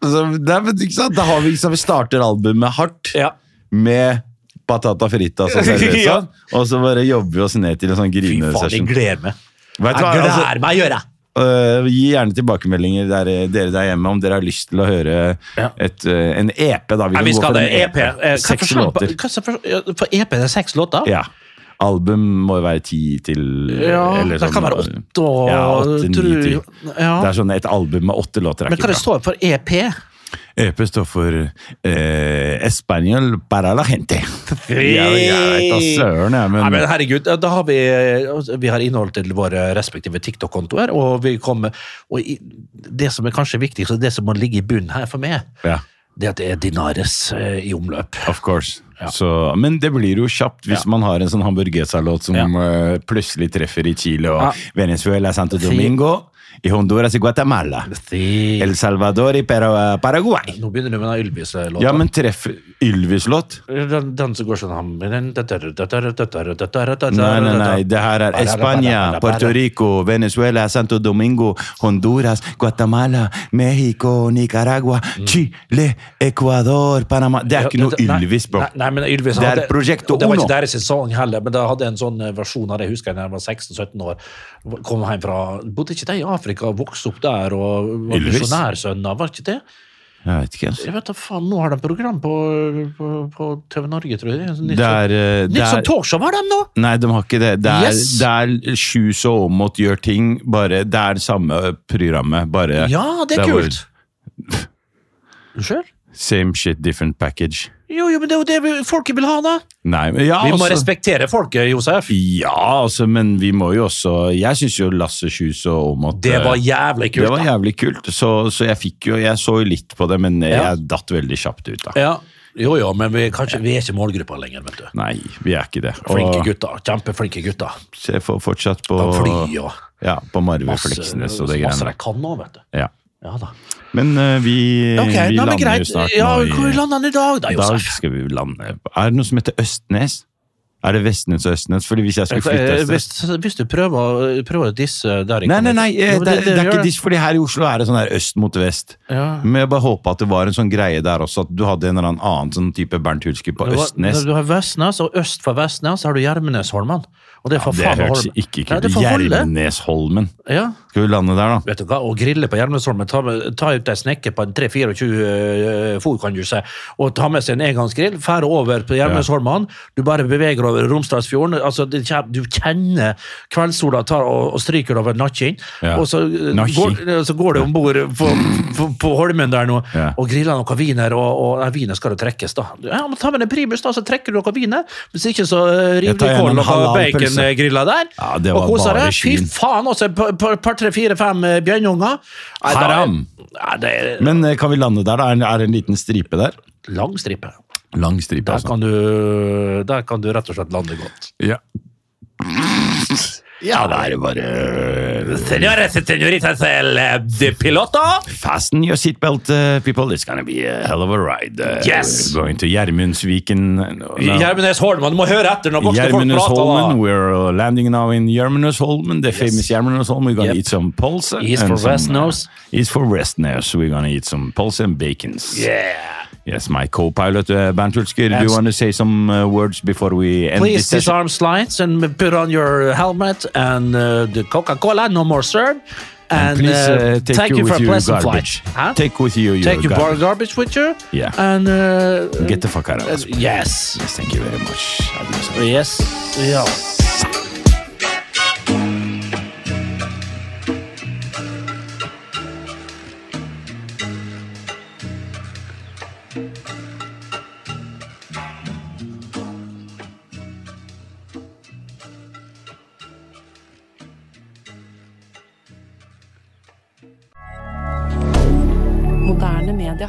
Så, det er, men ikke sant? Da har vi, liksom, vi starter albumet hardt
Ja.
med patata frita som serveres,
Ja.
sånn. og så bare jobber vi oss ned til en sånn
Fy faen, jeg
grinesession.
gleder meg.
Vet
Jeg
du hva, altså,
gleder meg, gjør jeg.
øh, gi gjerne tilbakemeldinger der, dere der hjemme om dere har lyst til å høre
Ja.
et, øh, en EP. da.
Nei, vi skal det. EP. eh, hva
E Seks
for-
låter.
hva som for- ja, For EP er det seks låter?
Ja. Album må jo være ti til
Ja,
eller
det
sånn,
kan være åtte og
Ja, åtte, ni,
tror-
ti.
ja.
Det er sånn et album med åtte låter er
Men hva
ikke
det
bra.
står for EP?
EP står for eh, Español para la gente. Ja, jeg vet da søren, jeg,
Nei,
men
men herregud, da har vi, vi har innhold til våre respektive TikTok-kontoer, og vi kommer Og i- det som er kanskje viktigst, og det som må ligge i bunnen her for meg,
ja.
det er at det er dinares eh, i omløp.
Of course. Så, men det blir jo kjapt hvis man har en sånn hamburgesalåt som eh, plutselig treffer i Chile og
Ja.
Venezuela, Santo
Si.
Domingo, i Honduras, i Guatemala,
Si.
El Salvador, i Para- Paraguay.
Nå begynner du med den Ylvis-låta.
Ja, men treffer Ylvis-låt?
den, den som går sånn ham- den-
Nei, nei, nei. Det her er Spania, Puerto Rico, Venezuela, Santo Domingo, Honduras, Guatemala, Mexico, Nicaragua, Chile, Ecuador, Panama Det er ikke noe
Mm. Ja, det- nei,
Ylvis, bro.
Nei, nei, men Ylvis
Det er
hadde-
Projecto
og Det var ikke
Uno.
deres sesong heller, men de hadde en sånn eh, versjon av det, jeg husker jeg da jeg var 16-17 år. Kom hjem fra, Bodde ikke de i Afrika og vokste opp der og var
Ylvis?
misjonærsønner, var ikke det?
Jeg vet ikke, altså.
Jeg vet da faen, Nå har de program på, på, på TV Norge, tror jeg. Nytt
Det er,
sånn-
eh, det
nytt sånn
er
talkshow har de nå!
Nei, de har ikke det. Det er,
Yes.
det er Shoes og Aamodt gjør ting, bare Det er det samme programmet, bare
Ja, det er
det er
kult! Unnskyld?
same shit, different package.
Jo, jo, men det er jo det vi- folket vil ha, da!
Nei, men ja,
Vi må
altså,
respektere folket, Josef.
ja, altså, men vi må jo også Jeg syns jo Lasse Shoes og Aamodt
Det
eh,
var jævlig
det
kult.
var
da.
jævlig kult, så, så jeg fikk jo Jeg så jo litt på det, men jeg
Ja.
datt veldig kjapt ut, da.
Ja. Jo, jo, men vi, kanskje, vi er ikke målgruppa legunger, vet du.
Nei, vi er ikke det.
Flinke gutter. Kjempeflinke gutter.
så jeg får fortsatt på
De flyr og
Ja, på Marve
masse,
Fleksnes og det
masse
greiene
de kan nå, vet du.
der. Ja.
Ja da.
Men eh, vi,
Ok,
vi
nei, men
lander
greit.
jo snart
Ja,
nå i
hvor lander han i dag, da,
I dag
Josef?
skal vi lande på Er det noe som heter Østnes? Er det Vestnes og Østnes? Fordi hvis jeg skulle flytte
Eh,
Østnes
Hvis, hvis du prøver, prøver å disse der
Nei, nei, nei, eh,
Jo,
det, det er
gjør
ikke diss, fordi her i Oslo er det sånn der øst mot vest.
Ja.
Men jeg bare håpa at det var en sånn greie der også, at du hadde en eller annen annen sånn type Bernt Hulsker på
Det var-
Østnes.
Du har Vestnes, og øst for Vestnes har du Gjermenesholmen. Og det er for
Det
faen meg
hørtes
Holmen.
ikke
Nei,
kult
det
ut.
får holde.
Gjermenesholmen.
Ja.
Skal vi lande der, da?
Vet du hva, å grille på Gjermenesholmen, ta, med- ta ut ei snekke på en 3-24 uh, fôr, kan du si, og ta med seg en engangsgrill, fære over på Gjermenesholmen, du bare beveger over Romsdalsfjorden, altså det, kjem- du kjenner kveldssola tar og, og stryker over nakken,
Ja.
og så, eh,
Nakken.
går, eh, så går du ombord på, på, på Holmen der nå,
Ja.
og griller noe viner, og, og nei, viner skal jo trekkes da. Ja, men ta med en primus da, så trekker du noe viner, hvis ikke så eh,
Jeg
river
tar
du
gjerne en
kål
halal
og
pølse.
bacongrilla der,
Ja, det var
og koser
bare
deg. Fy
svin.
faen, også et par, par, par tre, fire, fem eh, bjørnunger. Nei, da er-
Haram.
Nei, det er
Men eh, kan vi lande der, da? Er det- Er det en liten stripe der?
lang stripe.
Lang stripe,
Der
altså.
kan, du, der kan du rett og slett lande godt.
Ja. ja, da er det bare
Senores, senoritas, el eh, de piloto.
Fasten your seatbelt, uh, people. It's gonna be a hell of a ride. Uh,
Yes!
We're going to Gjermundsviken. No, no.
Gjermenesholmen, du må høre etter når voksne folk prater.
Gjermundesholmen.
da.
We're uh, landing now in Gjermundesholmen, the famous Gjermundesholmen. We're gonna
Yep.
eat some pulse.
East
and
for
some,
Westnose.
Uh, east for Westnose. We're gonna eat some pulse and bacons.
Yeah.
Yes, my co-pilot, uh, Bernt Hulsker, do you
Yes.
want to say some uh, words before we end this
Please
session?
disarm slides and put on your helmet and uh, the Coca-Cola, no more served. And,
Please
uh,
uh, take, you
for a
with you
pleasant
garbage.
flight. Huh?
Take with you your
Take your bar
garbage.
garbage with you.
Yeah.
And uh,
Get the fuck out of us.
yes.
Yes, thank you very much. Adios.
Yes. Yeah.
Moderne media.